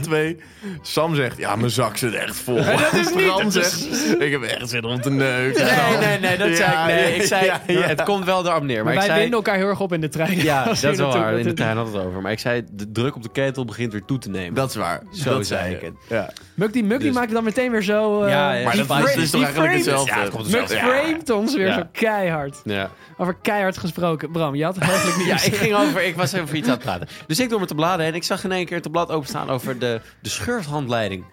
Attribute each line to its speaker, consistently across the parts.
Speaker 1: twee. Sam zegt, ja, mijn zak zit echt vol. dat is niet. Bram
Speaker 2: Dus-
Speaker 1: zegt, ik heb echt zin om te neuken.
Speaker 3: Nee, nee, nee, dat
Speaker 1: Ja,
Speaker 3: zei ik. Nee,
Speaker 1: ja,
Speaker 3: ik zei,
Speaker 1: ja, ja.
Speaker 3: Het komt wel erop neer. Maar,
Speaker 2: wij
Speaker 3: ik zei,
Speaker 2: winden elkaar heel erg op in de trein.
Speaker 3: ja, dat
Speaker 2: Als
Speaker 3: is
Speaker 2: je
Speaker 3: wel
Speaker 2: naartoe
Speaker 3: waar.
Speaker 2: moet.
Speaker 3: In de tuin had het over. Maar ik zei, de druk op de ketel begint weer toe te nemen.
Speaker 1: Dat is waar.
Speaker 3: Zo
Speaker 1: dat
Speaker 3: zei ik het.
Speaker 1: Ja.
Speaker 2: Muk die, Muk die maakt dan meteen weer zo... eh,
Speaker 3: Dus- Ja, ja.
Speaker 1: Maar
Speaker 3: Die
Speaker 1: dat is,
Speaker 3: frame-
Speaker 1: dus toch
Speaker 2: die
Speaker 1: eigenlijk
Speaker 2: frame-
Speaker 1: hetzelfde.
Speaker 3: Ja, het komt
Speaker 2: Muk
Speaker 3: Ja.
Speaker 2: framed ons weer
Speaker 3: Ja.
Speaker 2: zo keihard.
Speaker 3: Ja.
Speaker 2: Over keihard gesproken. Bram, je had eigenlijk niet...
Speaker 3: ja, ik ging over, ik was over iets aan het praten. Dus ik door me te bladeren en ik zag in één keer het blad openstaan over de, de schurfhandleiding.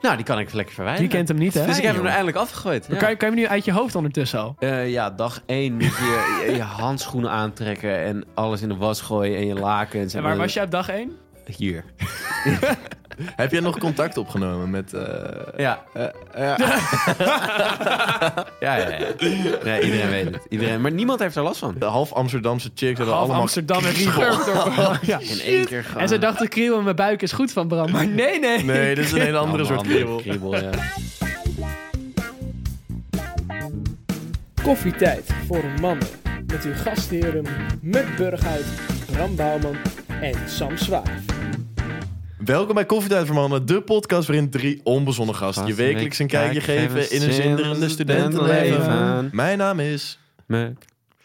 Speaker 3: Nou, die kan ik lekker verwijderen.
Speaker 2: Die kent hem niet, hè?
Speaker 3: Dus ik heb hem er eindelijk afgegooid.
Speaker 2: Maar
Speaker 3: Ja.
Speaker 2: Kan, je, kan je hem nu uit je hoofd ondertussen al?
Speaker 3: Eh, ja, dag één moet je, je je handschoenen aantrekken en alles in de was gooien en je lakens.
Speaker 2: En waar was jij op dag 1?
Speaker 3: Hier.
Speaker 1: Heb jij nog contact opgenomen met... eh,
Speaker 3: Ja.
Speaker 1: ja.
Speaker 3: ja, ja, ja. Nee, iedereen weet het. Iedereen, maar niemand heeft er last van.
Speaker 1: de half Amsterdamse chicks hebben
Speaker 2: Half
Speaker 1: allemaal...
Speaker 2: Amsterdam en Riegel. door- Ja.
Speaker 3: In één keer gewoon.
Speaker 2: En ze dachten, kriel in mijn buik is goed van Bram. Maar nee, nee.
Speaker 1: Nee, dit is een hele
Speaker 3: Allemaal
Speaker 1: andere soort kriebel.
Speaker 3: kriebel, ja.
Speaker 4: Koffietijd voor mannen met uw gastheren Muk Burghuis, Bram Bouwman en Sam Zwaar.
Speaker 1: Welkom bij Koffietijd voor Mannen, de podcast waarin drie onbezonnen gasten je wekelijks een kijkje geven in een zinderende studentenleven. Mijn naam is...
Speaker 3: Me.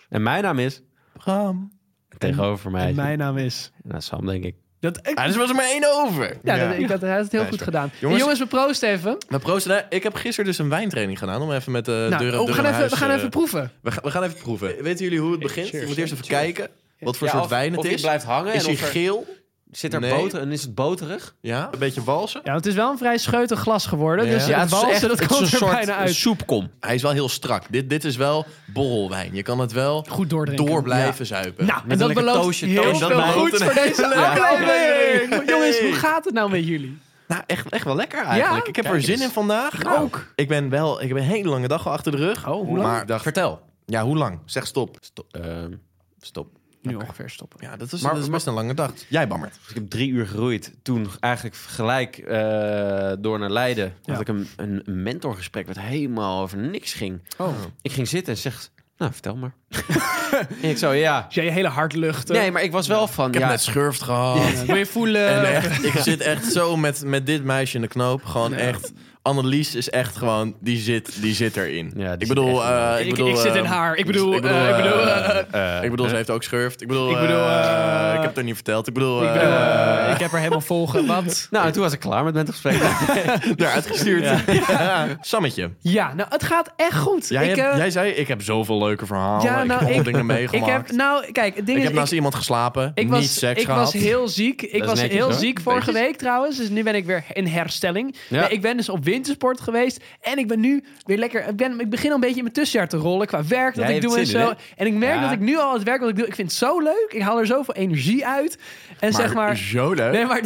Speaker 3: En mijn naam is...
Speaker 1: Bram.
Speaker 3: Tegenover mij.
Speaker 2: Mijn naam is...
Speaker 3: Nou, Sam, denk ik.
Speaker 2: Dat, ik,
Speaker 1: Ah, dus was er maar één over.
Speaker 2: ja, dat- ik had, hij had het heel
Speaker 1: Nee,
Speaker 2: goed
Speaker 1: sorry.
Speaker 2: gedaan. Hey, Jongens,
Speaker 1: Jongens-
Speaker 2: we proosten even.
Speaker 1: Maar proost, nou, ik heb gisteren dus een wijntraining gedaan om even met de
Speaker 2: Nou,
Speaker 1: deuren,
Speaker 2: oh, we,
Speaker 1: deuren
Speaker 2: gaan even,
Speaker 1: huis,
Speaker 2: we gaan
Speaker 1: eh,
Speaker 2: even proeven.
Speaker 1: we, gaan, we gaan even proeven. Weten jullie hoe het begint? je moet eerst even kijken wat voor
Speaker 3: Ja,
Speaker 1: soort
Speaker 3: of-
Speaker 1: wijn het
Speaker 3: of die
Speaker 1: is.
Speaker 3: blijft hangen
Speaker 1: Is
Speaker 3: en
Speaker 1: hij
Speaker 3: of er-
Speaker 1: geel?
Speaker 3: Zit er
Speaker 1: Nee.
Speaker 3: boter en is het boterig?
Speaker 1: Ja, een beetje walsen.
Speaker 2: Ja, want het is wel een vrij scheutig glas geworden.
Speaker 1: Ja.
Speaker 2: Dus
Speaker 1: Ja,
Speaker 2: het balsen, dat
Speaker 3: het is
Speaker 2: komt er
Speaker 3: een soort
Speaker 2: bijna uit.
Speaker 3: soepkom.
Speaker 1: Hij is wel heel strak. Dit, dit is wel borrelwijn. Je kan het wel
Speaker 2: Goed doordrinken.
Speaker 1: door blijven zuipen.
Speaker 2: Nou, en
Speaker 3: eh, Met
Speaker 2: dat
Speaker 3: een lekker
Speaker 2: belooft
Speaker 3: toastje,
Speaker 2: heel
Speaker 3: toast
Speaker 2: veel
Speaker 3: erbij.
Speaker 2: goeds voor deze aflevering.
Speaker 1: Hey.
Speaker 2: Jongens, hoe gaat het nou met jullie?
Speaker 1: Nou, echt, echt wel lekker eigenlijk.
Speaker 2: Ja?
Speaker 1: Ik heb
Speaker 2: Kijk
Speaker 1: er zin
Speaker 2: eens.
Speaker 1: in vandaag.
Speaker 2: Ik ook.
Speaker 1: Ik ben wel, ik heb een hele lange dag al achter de rug.
Speaker 2: Oh, hoe lang?
Speaker 1: Maar ik dacht,
Speaker 3: Vertel.
Speaker 1: ja, hoe lang? Zeg stop.
Speaker 3: Stop. ehm, stop.
Speaker 2: Nu ongeveer stoppen.
Speaker 1: Ja, dat is,
Speaker 3: Maar-
Speaker 1: dat is best een lange dag. Jij bammert.
Speaker 3: Dus ik heb drie uur geroeid. Toen eigenlijk gelijk eh, door naar Leiden. Had ik een, een mentorgesprek wat helemaal over niks ging.
Speaker 2: Oh.
Speaker 3: Ik ging zitten en zegt, nou vertel maar. en ik zo, ja.
Speaker 2: Dus jij je hele hart luchten.
Speaker 3: Nee, maar ik was wel van,
Speaker 1: Ik heb
Speaker 3: ja,
Speaker 1: net schurft gehad.
Speaker 2: Wil je voelen?
Speaker 1: En echt, ik zit echt zo met, met dit meisje in de knoop. Gewoon echt. Annelies is echt gewoon, die zit, die zit erin.
Speaker 3: Ja, die
Speaker 1: ik, bedoel,
Speaker 3: zit echt
Speaker 1: eh,
Speaker 3: erin.
Speaker 1: ik
Speaker 2: ik,
Speaker 1: bedoel,
Speaker 2: ik zit in
Speaker 1: eh,
Speaker 2: haar. Ik bedoel,
Speaker 1: ik bedoel,
Speaker 2: eh, ik bedoel, eh,
Speaker 3: eh,
Speaker 1: Ik bedoel, ze heeft ook schurft. Ik bedoel,
Speaker 2: Ik bedoel,
Speaker 1: eh,
Speaker 2: eh,
Speaker 1: ik heb het haar niet verteld. Ik bedoel,
Speaker 2: ik,
Speaker 1: eh,
Speaker 2: bedoel, eh, ik heb er helemaal volgen. Want
Speaker 3: nou, en toen was ik klaar met mentorgesprek.
Speaker 1: eruit gestuurd. Sammetje,
Speaker 2: ja, nou, het gaat echt goed.
Speaker 1: jij,
Speaker 2: ik,
Speaker 1: hebt-
Speaker 2: eh,
Speaker 1: jij zei, ik heb zoveel leuke verhalen.
Speaker 2: Ja,
Speaker 1: ik
Speaker 2: nou,
Speaker 1: heb allemaal
Speaker 2: ik-
Speaker 1: dingen
Speaker 2: ik
Speaker 1: meegemaakt.
Speaker 2: heb, nou, kijk, het ding
Speaker 1: ik
Speaker 2: is,
Speaker 1: heb naast iemand geslapen,
Speaker 2: ik
Speaker 1: niet
Speaker 2: was,
Speaker 1: seks
Speaker 2: ik
Speaker 1: gehad.
Speaker 2: was heel ziek. Ik
Speaker 3: is
Speaker 2: was
Speaker 3: netjes,
Speaker 2: heel
Speaker 3: hoor.
Speaker 2: ziek vorige week trouwens. Dus nu ben ik weer in herstelling.
Speaker 3: Ja.
Speaker 2: Nee, ik ben dus op wintersport geweest. En ik ben nu weer lekker. Ik, ben, ik begin al een beetje in mijn tussenjaar te rollen. Qua werk dat
Speaker 3: Ja, je
Speaker 2: ik
Speaker 3: hebt
Speaker 2: doe en
Speaker 3: zin in,
Speaker 2: zo.
Speaker 3: hè?
Speaker 2: En ik merk
Speaker 3: Ja.
Speaker 2: dat ik nu al het werk wat ik doe. Ik vind het zo leuk. Ik haal er zoveel energie uit. En zeg maar.
Speaker 1: Zo leuk.
Speaker 2: Nee, maar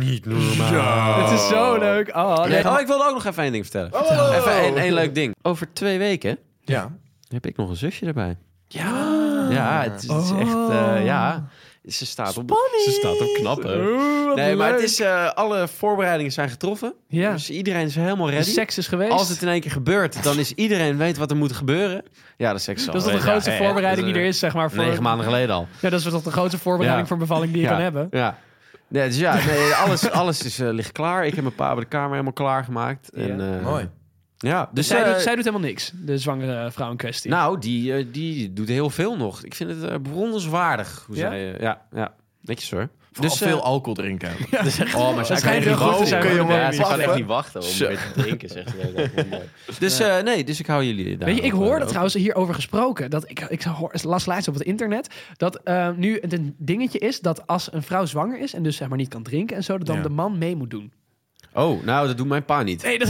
Speaker 3: Niet normaal.
Speaker 2: het is zo leuk. Oh, nee.
Speaker 3: Oh, ik wilde ook nog even één ding vertellen. Even één- één leuk ding. Over twee weken
Speaker 1: Ja.
Speaker 3: heb ik nog een zusje erbij. Ja. Ja, het is, het is echt... eh, ja, ze staat op... Ze staat op knappen.
Speaker 2: Oeh, wat
Speaker 3: Nee, maar het
Speaker 2: leuk.
Speaker 3: is, eh, alle voorbereidingen zijn getroffen.
Speaker 2: Ja.
Speaker 3: Dus iedereen is helemaal
Speaker 2: De
Speaker 3: ready.
Speaker 2: seks is geweest.
Speaker 3: Als het in één keer gebeurt, dan is iedereen weet wat er moet gebeuren. Ja, de seks is al
Speaker 2: dat is toch de
Speaker 3: geweest.
Speaker 2: grootste
Speaker 3: Ja, ja, ja.
Speaker 2: voorbereiding die er is, zeg maar. Voor,
Speaker 3: Negen maanden geleden al.
Speaker 2: Ja, dat is toch de grootste
Speaker 3: Ja.
Speaker 2: voorbereiding voor bevalling die je
Speaker 3: ja.
Speaker 2: kan hebben.
Speaker 3: Ja. Nee, dus ja, nee, alles, alles is, eh, ligt klaar. Ik heb mijn pa bij de kamer helemaal klaargemaakt. En, eh,
Speaker 1: Mooi.
Speaker 3: Ja, dus
Speaker 2: zij,
Speaker 3: eh,
Speaker 2: doet, zij doet helemaal niks, de zwangere vrouw in kwestie.
Speaker 3: Nou, die, eh, die doet heel veel nog. Ik vind het eh, bewonderenswaardig. Hoe
Speaker 2: Ja?
Speaker 3: zij, eh, ja, ja, netjes hoor.
Speaker 1: Dus
Speaker 3: eh,
Speaker 1: veel alcohol drinken.
Speaker 3: Oh, maar zij
Speaker 2: Dat
Speaker 3: kan echt
Speaker 2: schijnt heel
Speaker 3: niet
Speaker 2: goed te
Speaker 3: wachten.
Speaker 2: zijn, hoor.
Speaker 3: Ja,
Speaker 1: Ja,
Speaker 3: ze kan
Speaker 1: wachten.
Speaker 3: echt niet wachten om
Speaker 1: Zo.
Speaker 3: weer te drinken, zegt ze. Dat is wel mooi. Dus eh, nee, dus ik hou jullie daar.
Speaker 2: Weet je, ik
Speaker 3: ook, eh,
Speaker 2: hoorde
Speaker 3: ook.
Speaker 2: trouwens hierover gesproken. Dat ik, ik hoor, las laatst op het internet dat eh, nu het een dingetje is dat als een vrouw zwanger is en dus zeg maar niet kan drinken en zo, dat dan
Speaker 1: Ja.
Speaker 2: de man mee moet doen.
Speaker 3: Oh, nou, dat doet mijn pa niet.
Speaker 2: Nee, dat,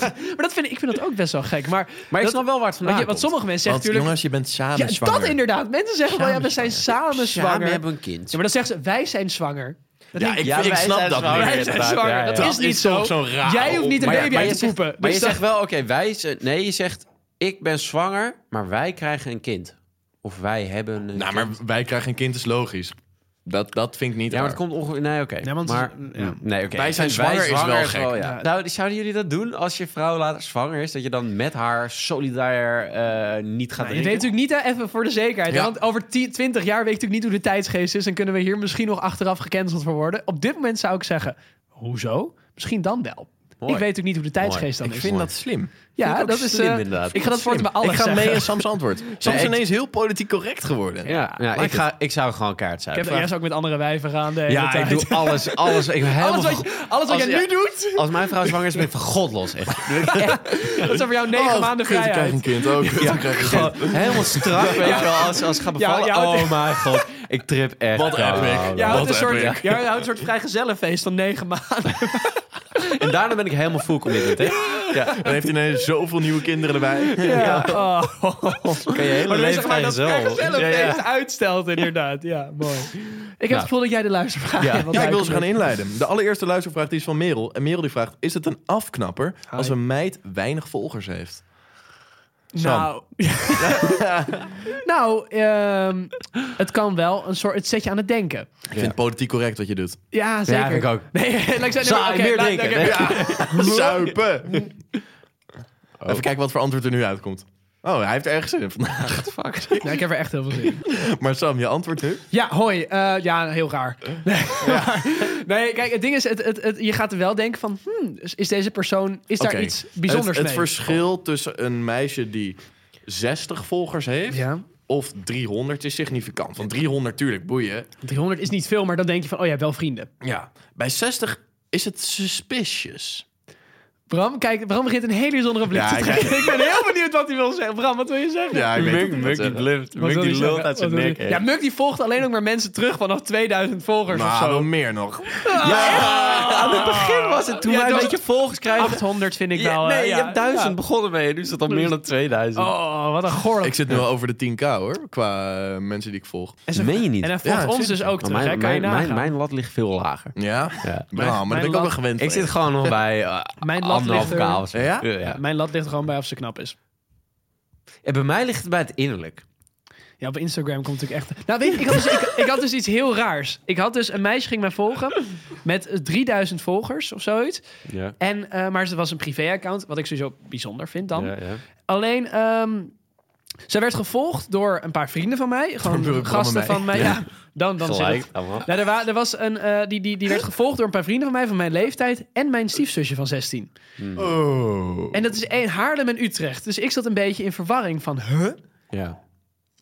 Speaker 2: maar dat vind ik, ik vind dat ook best wel gek. Maar,
Speaker 3: Maar ik
Speaker 2: dat-
Speaker 3: snap wel waar het vandaan komt.
Speaker 2: want, je- want sommige mensen
Speaker 1: Want
Speaker 2: zeggen natuurlijk.
Speaker 1: jongens, je bent samen
Speaker 2: Ja,
Speaker 1: zwanger.
Speaker 2: dat inderdaad. Mensen zeggen wel, ja, we zijn samen
Speaker 3: Ja, we
Speaker 2: zwanger. Ja,
Speaker 3: hebben een kind.
Speaker 2: maar dan zeggen ze, wij zijn zwanger. Dat
Speaker 1: Ja,
Speaker 2: denk
Speaker 1: ik,
Speaker 2: ik.
Speaker 3: Ja,
Speaker 1: ik
Speaker 3: wij
Speaker 1: snap
Speaker 3: zijn
Speaker 1: dat
Speaker 3: zwanger.
Speaker 1: niet.
Speaker 2: Wij zijn
Speaker 3: inderdaad,
Speaker 2: zwanger.
Speaker 3: ja, ja.
Speaker 2: Dat,
Speaker 3: Dat
Speaker 2: is niet
Speaker 1: is
Speaker 2: zo.
Speaker 1: toch zo'n raar
Speaker 2: Jij hoeft niet een
Speaker 3: Maar ja,
Speaker 2: baby
Speaker 3: maar
Speaker 2: uit
Speaker 3: je
Speaker 2: te
Speaker 3: zegt-
Speaker 2: poepen.
Speaker 3: Maar
Speaker 2: Dus
Speaker 3: je
Speaker 2: dat-
Speaker 3: zegt wel, oké, wij... zijn- Nee, je zegt, ik ben zwanger, maar wij krijgen een kind. Of wij hebben een
Speaker 1: Nou,
Speaker 3: kind.
Speaker 1: maar wij krijgen een kind, is logisch. Dat, dat vind ik niet
Speaker 3: Ja, maar
Speaker 1: raar.
Speaker 3: het komt ongeveer... Nee, oké.
Speaker 2: Ja, want-
Speaker 3: maar,
Speaker 2: ja.
Speaker 3: nee, oké.
Speaker 1: Wij
Speaker 3: Ik
Speaker 1: zijn
Speaker 3: vind
Speaker 1: zwanger is wel gek.
Speaker 2: Ja.
Speaker 3: Nou, zouden jullie dat doen als je vrouw later zwanger is? Dat je dan met haar solidair eh, niet gaat
Speaker 2: Nou, je weet
Speaker 3: drinken?
Speaker 2: natuurlijk niet, hè, even voor de zekerheid. hè,
Speaker 1: Ja.
Speaker 2: Want over 10, 20 jaar weet ik natuurlijk niet hoe de tijdsgeest is. En kunnen we hier misschien nog achteraf gecanceld voor worden. Op dit moment zou ik zeggen, hoezo? Misschien dan wel.
Speaker 3: Mooi.
Speaker 2: Ik weet natuurlijk niet hoe de tijdsgeest
Speaker 1: Ik
Speaker 2: dan is.
Speaker 1: vind dat slim.
Speaker 2: ja,
Speaker 3: vind ik ook
Speaker 2: dat is.
Speaker 3: slim,
Speaker 2: eh,
Speaker 3: inderdaad.
Speaker 2: Ik ga dat voor
Speaker 1: Slim.
Speaker 2: bij alles
Speaker 1: Ik ga mee
Speaker 2: zeggen.
Speaker 1: in Sam's antwoord. Sam is
Speaker 3: ik-
Speaker 1: ineens heel politiek correct geworden.
Speaker 3: Ja, ja, ik, ga, ik zou gewoon kaart
Speaker 2: Ik
Speaker 3: zijn.
Speaker 2: heb de eerst ook met andere wijven gaan. De hele
Speaker 3: ja,
Speaker 2: tijd.
Speaker 3: ik doe alles, alles. Ik ben helemaal
Speaker 2: Alles wat,
Speaker 3: van-
Speaker 2: je- alles wat
Speaker 3: Als-
Speaker 2: jij
Speaker 3: ja.
Speaker 2: nu doet,
Speaker 3: Als mijn vrouw zwanger is, ben ik van god los. Echt.
Speaker 2: dat is voor jou negen
Speaker 3: Oh,
Speaker 2: maanden
Speaker 1: Oh, kut, ik krijg
Speaker 2: vrijheid.
Speaker 1: een kind ook. kut, ik krijg een kind.
Speaker 3: Gewoon helemaal strak, weet je wel. Als, als ik ga
Speaker 2: Ja,
Speaker 3: bevallen,
Speaker 2: ja, want-
Speaker 3: oh mijn god. Ik trip echt.
Speaker 1: Wat
Speaker 3: koud.
Speaker 1: epic.
Speaker 2: Ja, houdt
Speaker 1: Wat
Speaker 2: een soort,
Speaker 1: epic.
Speaker 2: ja, houdt een soort vrijgezellenfeest van negen maanden.
Speaker 3: En daarna ben ik helemaal full committed, hè.
Speaker 1: Ja, dan heeft hij ineens zoveel nieuwe kinderen erbij.
Speaker 2: Ja. Oh.
Speaker 3: Kan je hele
Speaker 2: Maar dan is
Speaker 3: leven
Speaker 2: zeg maar dat
Speaker 3: vrijgezel.
Speaker 2: vrijgezellenfeest
Speaker 3: Ja, ja.
Speaker 2: uitstelt inderdaad. Ja, mooi. Ik heb het gevoel dat jij de luistervraag
Speaker 3: Ja.
Speaker 2: hebt.
Speaker 1: Nou. Ja, ik wil ze gaan inleiden. De allereerste luistervraag die is van Merel. En Merel die vraagt, is het een afknapper als een meid weinig volgers heeft?
Speaker 2: Nou, nou ehm, het kan wel. Een soort, het zet je aan het denken.
Speaker 1: Ik vind het politiek correct wat je doet.
Speaker 2: Ja, zeker.
Speaker 3: vind ik ook.
Speaker 2: Nee, laat ik zeggen,
Speaker 3: Zou
Speaker 2: nee,
Speaker 3: ik
Speaker 2: oké,
Speaker 3: meer
Speaker 2: laat-
Speaker 3: denken,
Speaker 2: oké.
Speaker 3: hè?
Speaker 2: Ja.
Speaker 1: Zuipen! Even kijken wat voor antwoord er nu uitkomt. Oh, hij heeft ergens zin in vandaag. Fuck.
Speaker 2: Nee, Nou, ik heb er echt heel veel zin in.
Speaker 1: Maar Sam, je antwoord nu?
Speaker 2: Ja, hoi. Eh, ja, heel raar. Nee, maar- nee, kijk, het ding is, het, het, het- je gaat er wel denken van... hmm, is- is deze persoon, is daar
Speaker 1: Oké.
Speaker 2: iets bijzonders
Speaker 1: het,
Speaker 2: mee?
Speaker 1: Het verschil tussen een meisje die 60 volgers heeft
Speaker 2: ja,
Speaker 1: of 300 is significant. Want 300, tuurlijk, boeien.
Speaker 2: 300 is niet veel, maar dan denk je van... oh, jij hebt wel vrienden.
Speaker 1: Ja. Bij 60 is het suspicious.
Speaker 2: Bram, kijk, Bram begint een hele bijzondere blik
Speaker 1: Ja,
Speaker 2: te
Speaker 1: ik-
Speaker 2: trekken. Ik ben heel benieuwd wat hij wil zeggen. Bram, wat wil je zeggen?
Speaker 1: Ja, ik weet het
Speaker 3: Muk die bluft.
Speaker 2: Wat
Speaker 3: Muk
Speaker 2: wil
Speaker 3: die
Speaker 2: hij
Speaker 3: lult
Speaker 2: zeggen?
Speaker 3: uit zijn
Speaker 2: Wat wil
Speaker 3: nek.
Speaker 2: hij-
Speaker 3: hè.
Speaker 2: Ja, Muk die volgt alleen nog maar mensen terug vanaf 2000 volgers of
Speaker 1: Maar
Speaker 2: zo. Ah,
Speaker 1: wel meer nog.
Speaker 3: Ja, aan het begin was het toen
Speaker 2: Ja,
Speaker 3: wij een
Speaker 2: dat-
Speaker 3: beetje volgers krijgen.
Speaker 2: 800 Ah. vind ik
Speaker 3: Ja,
Speaker 2: wel... eh,
Speaker 3: nee, je
Speaker 2: ja,
Speaker 3: hebt duizend
Speaker 2: ja.
Speaker 3: begonnen mee. Nu is het al meer dan 2000.
Speaker 2: Oh, wat een goorlijk.
Speaker 1: Ik zit nu al over de 10k hoor, qua eh, mensen die ik volg.
Speaker 2: En ze-
Speaker 3: Meen je niet?
Speaker 2: En hij volgt
Speaker 1: Ja,
Speaker 2: ons
Speaker 1: zit-
Speaker 2: dus ook
Speaker 3: Maar
Speaker 2: terug, hè?
Speaker 3: mijn,
Speaker 2: Kan je
Speaker 3: mijn, mijn,
Speaker 2: nagaan.
Speaker 3: mijn lat ligt veel lager.
Speaker 1: Ja?
Speaker 3: Ja.
Speaker 1: Nou, maar daar ben ik ook
Speaker 2: lat-
Speaker 1: wel gewend
Speaker 3: Ik
Speaker 1: van.
Speaker 3: zit gewoon nog bij eh,
Speaker 2: Mijn lat
Speaker 3: anderhalve
Speaker 2: ligt er-
Speaker 3: k of zo.
Speaker 1: Ja?
Speaker 3: ja.
Speaker 2: Mijn lat ligt er gewoon bij of ze knap is.
Speaker 3: En bij mij ligt het bij het innerlijk.
Speaker 2: Ja, op Instagram komt natuurlijk echt... Nou, weet je, ik had, dus, ik, ik had dus iets heel raars. Ik had dus... Een meisje ging mij volgen met eh, 3000 volgers of zoiets.
Speaker 3: Ja.
Speaker 2: En, eh, maar ze was een privé-account, wat ik sowieso bijzonder vind dan. Alleen, ehm ze werd gevolgd door een paar vrienden van mij.
Speaker 1: Door
Speaker 2: Gewoon gasten
Speaker 1: Bram
Speaker 2: van
Speaker 1: en
Speaker 2: mij. Ja, dan, dan zit
Speaker 3: Gelijk.
Speaker 2: het.
Speaker 3: allemaal.
Speaker 2: Nou, er, wa- er was een, eh, die, die, die werd gevolgd door een paar vrienden van mij van mijn leeftijd. En mijn stiefzusje van 16.
Speaker 1: Oh.
Speaker 2: En dat is één Haarlem en Utrecht. Dus ik zat een beetje in verwarring van, huh?
Speaker 3: Ja.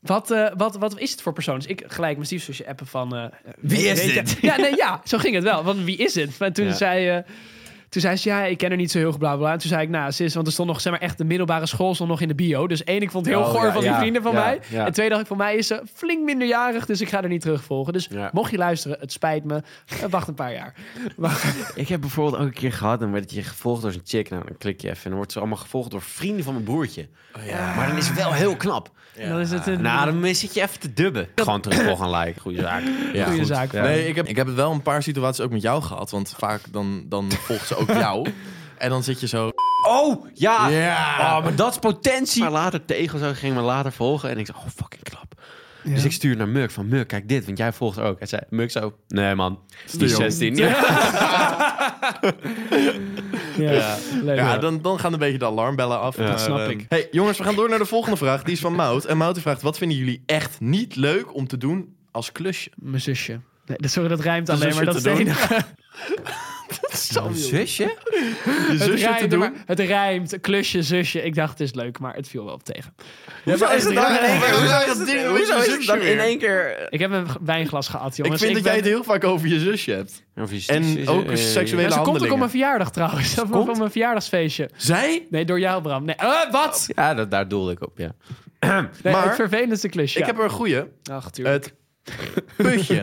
Speaker 2: Wat, eh, wat, wat is het voor persoon? Dus ik gelijk mijn stiefzusje appen van... eh,
Speaker 3: Wie is
Speaker 2: weet je-
Speaker 3: dit?
Speaker 2: Ja, nee, ja, zo ging het wel. Want wie is dit? Maar toen,
Speaker 3: Ja.
Speaker 2: zei, eh, toen zei ze, ja, ik ken haar niet zo heel goed, bla, bla, bla. En toen zei ik, nou, ze is... Want er stond nog, zeg maar, echt de middelbare school stond nog in de bio. Dus één, ik vond het heel
Speaker 3: Oh,
Speaker 2: goor
Speaker 3: ja,
Speaker 2: van die
Speaker 3: ja,
Speaker 2: vrienden van
Speaker 3: ja,
Speaker 2: mij.
Speaker 3: ja.
Speaker 2: En twee, dacht ik, voor mij is ze flink minderjarig. Dus ik ga er niet terugvolgen. Dus
Speaker 3: Ja.
Speaker 2: mocht je luisteren, het spijt me. Eh, wacht een paar jaar.
Speaker 3: Ik heb bijvoorbeeld ook een keer gehad, dan werd je gevolgd door zo'n chick. Nou, dan klik je even en dan wordt ze allemaal gevolgd door vrienden van mijn broertje. Maar dan is het wel heel knap.
Speaker 2: Dan is het een
Speaker 3: Nou, dan zit je even te dubben. Gewoon terugvolgen en liken. Goeie zaak.
Speaker 1: Ja,
Speaker 2: goede
Speaker 1: goed.
Speaker 2: zaak. voor mij.
Speaker 1: Nee, ik heb, ik heb wel een paar situaties ook met jou gehad. Want vaak dan, dan volgt ze ook jou. En dan zit je zo...
Speaker 3: Oh, ja.
Speaker 1: Ja.
Speaker 3: Oh, maar dat is potentie. Maar later tegen zo ging me later volgen. En ik zei, oh, fucking klap. Dus ik stuur naar Muk van, Muk, kijk dit, want jij volgt ook. Hij zei, Muk zo, nee man, die is
Speaker 1: jong.
Speaker 3: 16. Ja.
Speaker 2: Ja, leuk.
Speaker 1: Ja, dan, dan gaan een beetje de alarmbellen af.
Speaker 3: Ja,
Speaker 1: Maar,
Speaker 2: snap
Speaker 1: ehm,
Speaker 2: ik.
Speaker 1: Hey, jongens, we gaan door naar de volgende vraag. Die is van Mout. En Mout die vraagt, wat vinden jullie echt niet leuk om te doen als klusje?
Speaker 2: Mijn zusje. Nee, dat- sorry, dat rijmt
Speaker 1: Dat is
Speaker 2: alleen maar.
Speaker 1: een
Speaker 2: Dat is
Speaker 1: shit
Speaker 2: de
Speaker 1: te
Speaker 2: enige-
Speaker 3: Zo'n zusje?
Speaker 1: Je
Speaker 2: Het
Speaker 1: zusje te
Speaker 2: rijmt,
Speaker 1: doen?
Speaker 2: maar het rijmt. Klusje, zusje. Ik dacht het is leuk, maar het viel wel op tegen.
Speaker 3: Hoezo is het dan in één keer? Hoezo is het,
Speaker 1: Hoezo
Speaker 3: hoezo is het
Speaker 1: zusje
Speaker 3: dan in
Speaker 1: weer?
Speaker 3: één keer?
Speaker 2: Ik heb een g- wijnglas gehad,
Speaker 1: Eh. Ik
Speaker 2: jongens.
Speaker 1: vind dat jij
Speaker 2: ben-
Speaker 1: het heel vaak over je zusje hebt. En ook seksuele
Speaker 2: Ja, ze komt ook op
Speaker 1: handelingen.
Speaker 2: mijn verjaardag trouwens. Of op mijn verjaardagsfeestje.
Speaker 1: Zij?
Speaker 2: Nee, door jou, Bram. Nee, eh, wat?
Speaker 3: Ja, dat, daar doelde ik op, ja.
Speaker 2: Nee,
Speaker 1: Oh. maar-
Speaker 2: het vervelendste klusje.
Speaker 1: Ik heb er een goeie.
Speaker 2: Ach, tuurlijk.
Speaker 1: Het putje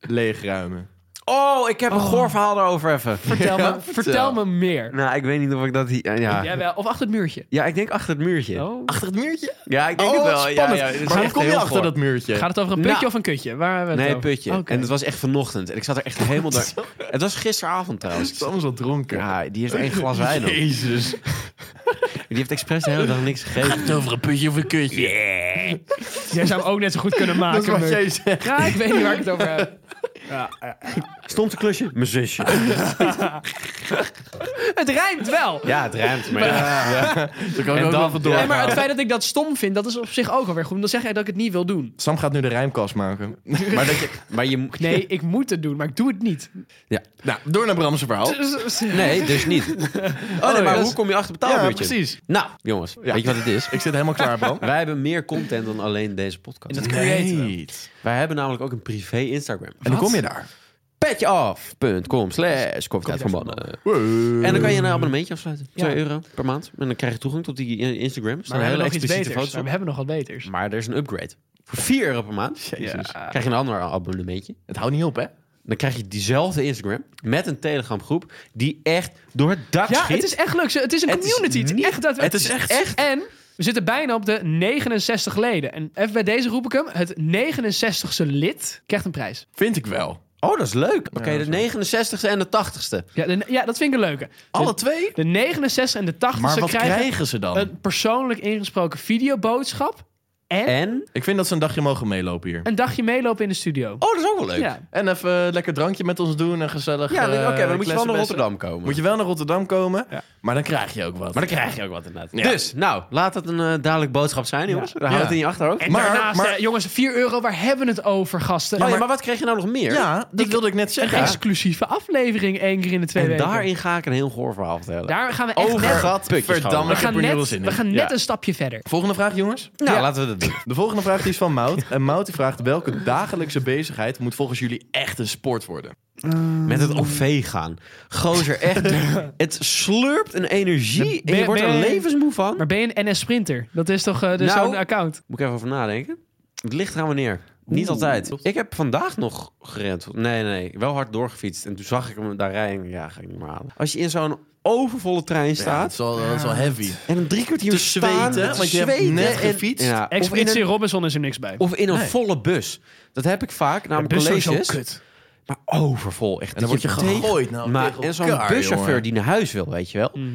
Speaker 1: leegruimen.
Speaker 3: Oh, ik heb een goor verhaal daarover even.
Speaker 2: Vertel,
Speaker 1: Ja,
Speaker 2: me,
Speaker 1: vertel.
Speaker 2: vertel me meer.
Speaker 3: Nou, ik weet niet of ik dat hier... eh, Ja,
Speaker 2: Jij wel, of achter het muurtje.
Speaker 3: ja ik denk achter het muurtje.
Speaker 2: Oh.
Speaker 1: Achter het muurtje?
Speaker 3: Ja, ik denk het wel. Ja, ja, het is
Speaker 1: Oh, maar hoe
Speaker 3: echt
Speaker 1: kom je
Speaker 3: heel
Speaker 1: achter
Speaker 3: goor.
Speaker 1: dat muurtje?
Speaker 2: Gaat het over een putje
Speaker 3: Nou.
Speaker 2: of een kutje? Waar hebben we het
Speaker 3: Nee,
Speaker 2: over?
Speaker 3: putje.
Speaker 2: Oké.
Speaker 3: En het was echt vanochtend. En ik zat er echt helemaal door. Het was gisteravond trouwens.
Speaker 1: Sam is al dronken.
Speaker 3: Ja, die heeft één glas wijn op.
Speaker 1: Jezus.
Speaker 3: Die heeft expres de hele dag niks gegeten.
Speaker 1: Over een putje of een kutje.
Speaker 2: Jij zou hem ook net zo goed kunnen maken.
Speaker 1: Dat is wat
Speaker 2: Muk.
Speaker 1: jij zegt.
Speaker 2: Ja, ik weet niet waar ik het over heb.
Speaker 3: Stond een klusje? Mijn zusje.
Speaker 2: Het rijmt wel.
Speaker 3: Ja, het ruimt. Maar ja.
Speaker 1: Dan kan ik
Speaker 3: En dan-
Speaker 1: ook wel even door.
Speaker 2: Nee, maar het feit dat ik dat stom vind, dat is op zich ook alweer goed. Dan zeg jij dat ik het niet wil doen.
Speaker 1: Sam gaat nu de rijmkast maken.
Speaker 3: Maar, dat je, maar je moet...
Speaker 2: Nee, ik moet het doen, maar ik doe het niet.
Speaker 1: nou, door naar Bramse verhaal.
Speaker 3: Oh. Nee, dus niet. Oh, nee, maar hoe kom je achter
Speaker 1: Ja,
Speaker 3: betaalmuurtje?
Speaker 1: precies.
Speaker 3: Nou, jongens, weet je wat het is?
Speaker 1: Ik zit helemaal klaar, Bram.
Speaker 3: Wij hebben meer content dan alleen deze podcast.
Speaker 2: dat creëren we.
Speaker 3: Wij hebben namelijk ook een privé Instagram.
Speaker 1: En hoe kom je daar?
Speaker 3: Petjeaf.com slash koffietijd van mannen. En dan kan je een abonnementje afsluiten. 2 euro per maand. En dan krijg je toegang tot die eh, Instagram. Er
Speaker 2: Maar
Speaker 3: staan
Speaker 2: we
Speaker 3: hele
Speaker 2: hebben nog iets
Speaker 3: expliciete
Speaker 2: beters.
Speaker 3: foto's
Speaker 2: Maar we
Speaker 3: op.
Speaker 2: hebben nog wat beters.
Speaker 3: Maar er is een upgrade. Voor 4 euro per maand krijg je een ander abonnementje.
Speaker 1: Het houdt niet op, hè?
Speaker 3: Dan krijg je diezelfde Instagram met een Telegram groep die echt door het dak
Speaker 2: Ja,
Speaker 3: schiet.
Speaker 2: het is echt leuk. Ze- Het is een
Speaker 3: Het is
Speaker 2: community. Het is,
Speaker 3: niet-
Speaker 2: echt, dat,
Speaker 3: het is echt-
Speaker 2: En we zitten bijna op de 69 leden. En even bij deze roep ik hem. Het 69ste lid krijgt een prijs.
Speaker 1: Vind ik wel.
Speaker 3: Oh, dat is leuk. Oké, de 69ste en de 80ste.
Speaker 2: Ja, de- ja dat vind ik een leuke.
Speaker 1: Alle twee?
Speaker 2: De 69 en de 80ste
Speaker 1: Maar wat
Speaker 2: krijgen,
Speaker 1: krijgen ze dan?
Speaker 2: een persoonlijk ingesproken videoboodschap. En,
Speaker 3: En?
Speaker 1: Ik vind dat ze een dagje mogen meelopen hier.
Speaker 2: een dagje meelopen in de studio.
Speaker 3: Oh, dat is ook wel leuk.
Speaker 2: ja.
Speaker 1: En even een lekker drankje met ons doen en gezellig.
Speaker 3: Ja,
Speaker 1: eh,
Speaker 3: oké, maar dan moet je wel naar
Speaker 1: klessenbessen.
Speaker 3: Rotterdam komen.
Speaker 1: Moet je wel naar Rotterdam komen, maar dan krijg je ook wat.
Speaker 3: Maar dan krijg je ook wat inderdaad.
Speaker 1: Ja.
Speaker 3: Dus, nou, laat het een eh, duidelijk boodschap zijn, jongens. Daar houdt
Speaker 1: Ja.
Speaker 3: het in je achterhoofd.
Speaker 2: En
Speaker 1: Maar-
Speaker 2: daarnaast,
Speaker 1: maar-
Speaker 2: eh, jongens, 4 euro, waar hebben we het over, gasten?
Speaker 3: Oh ja, maar wat krijg je nou nog meer?
Speaker 1: Ja, dat wilde ik net
Speaker 2: Een
Speaker 1: zeggen.
Speaker 2: exclusieve aflevering één keer in de twee
Speaker 3: En
Speaker 2: weken.
Speaker 3: daarin ga ik een heel goor verhaal vertellen.
Speaker 2: Daar gaan we echt
Speaker 1: Over
Speaker 2: net...
Speaker 1: gat, verdamme,
Speaker 3: gewoon.
Speaker 2: We
Speaker 1: ik heb
Speaker 2: gaan
Speaker 1: er nu wel
Speaker 2: net,
Speaker 1: zin
Speaker 2: we
Speaker 1: in.
Speaker 2: gaan net
Speaker 3: Ja.
Speaker 2: een stapje verder.
Speaker 1: Volgende vraag, jongens.
Speaker 3: nou,
Speaker 2: Ja.
Speaker 3: laten we dat doen.
Speaker 1: De volgende vraag die is van Mout. En Mout die vraagt, welke dagelijkse bezigheid moet volgens jullie echt een sport worden?
Speaker 3: Met
Speaker 1: Mm.
Speaker 3: het OV gaan. Gozer, echt. het slurpt een energie en
Speaker 2: Ben-
Speaker 3: je wordt er
Speaker 2: ben-
Speaker 3: levensmoe van.
Speaker 2: Maar ben je een NS-sprinter? Dat is toch eh, dus
Speaker 3: Nou.
Speaker 2: zo'n account?
Speaker 3: Moet ik even over nadenken. Het ligt eraan wanneer. Niet altijd. Ik heb vandaag nog gerend. Nee, nee. Wel hard doorgefietst. En toen zag ik hem daar rijden. en Ja, ga ik niet meer halen. Als je in zo'n overvolle trein staat.
Speaker 1: wel, eh, dat is wel heavy.
Speaker 3: En een drie kwartier
Speaker 1: Te
Speaker 3: staan,
Speaker 1: zweten,
Speaker 3: te
Speaker 1: want je hebt
Speaker 3: zweten
Speaker 1: net
Speaker 3: en-
Speaker 1: gefietst.
Speaker 3: ja, of, in
Speaker 2: Expeditie
Speaker 3: een,
Speaker 2: Robinson is er niks bij.
Speaker 3: of in een volle bus. Dat heb ik vaak. Namelijk
Speaker 2: bus is
Speaker 3: colleges.
Speaker 2: ook kut.
Speaker 3: Maar overvol. Echt.
Speaker 1: En dan word je
Speaker 3: tegen-
Speaker 1: gegooid. Nou,
Speaker 3: Maar
Speaker 1: tegen
Speaker 3: en zo'n
Speaker 1: elkaar,
Speaker 3: buschauffeur
Speaker 1: jongen. Mm.
Speaker 3: die naar huis wil, weet je wel.
Speaker 2: Mhm.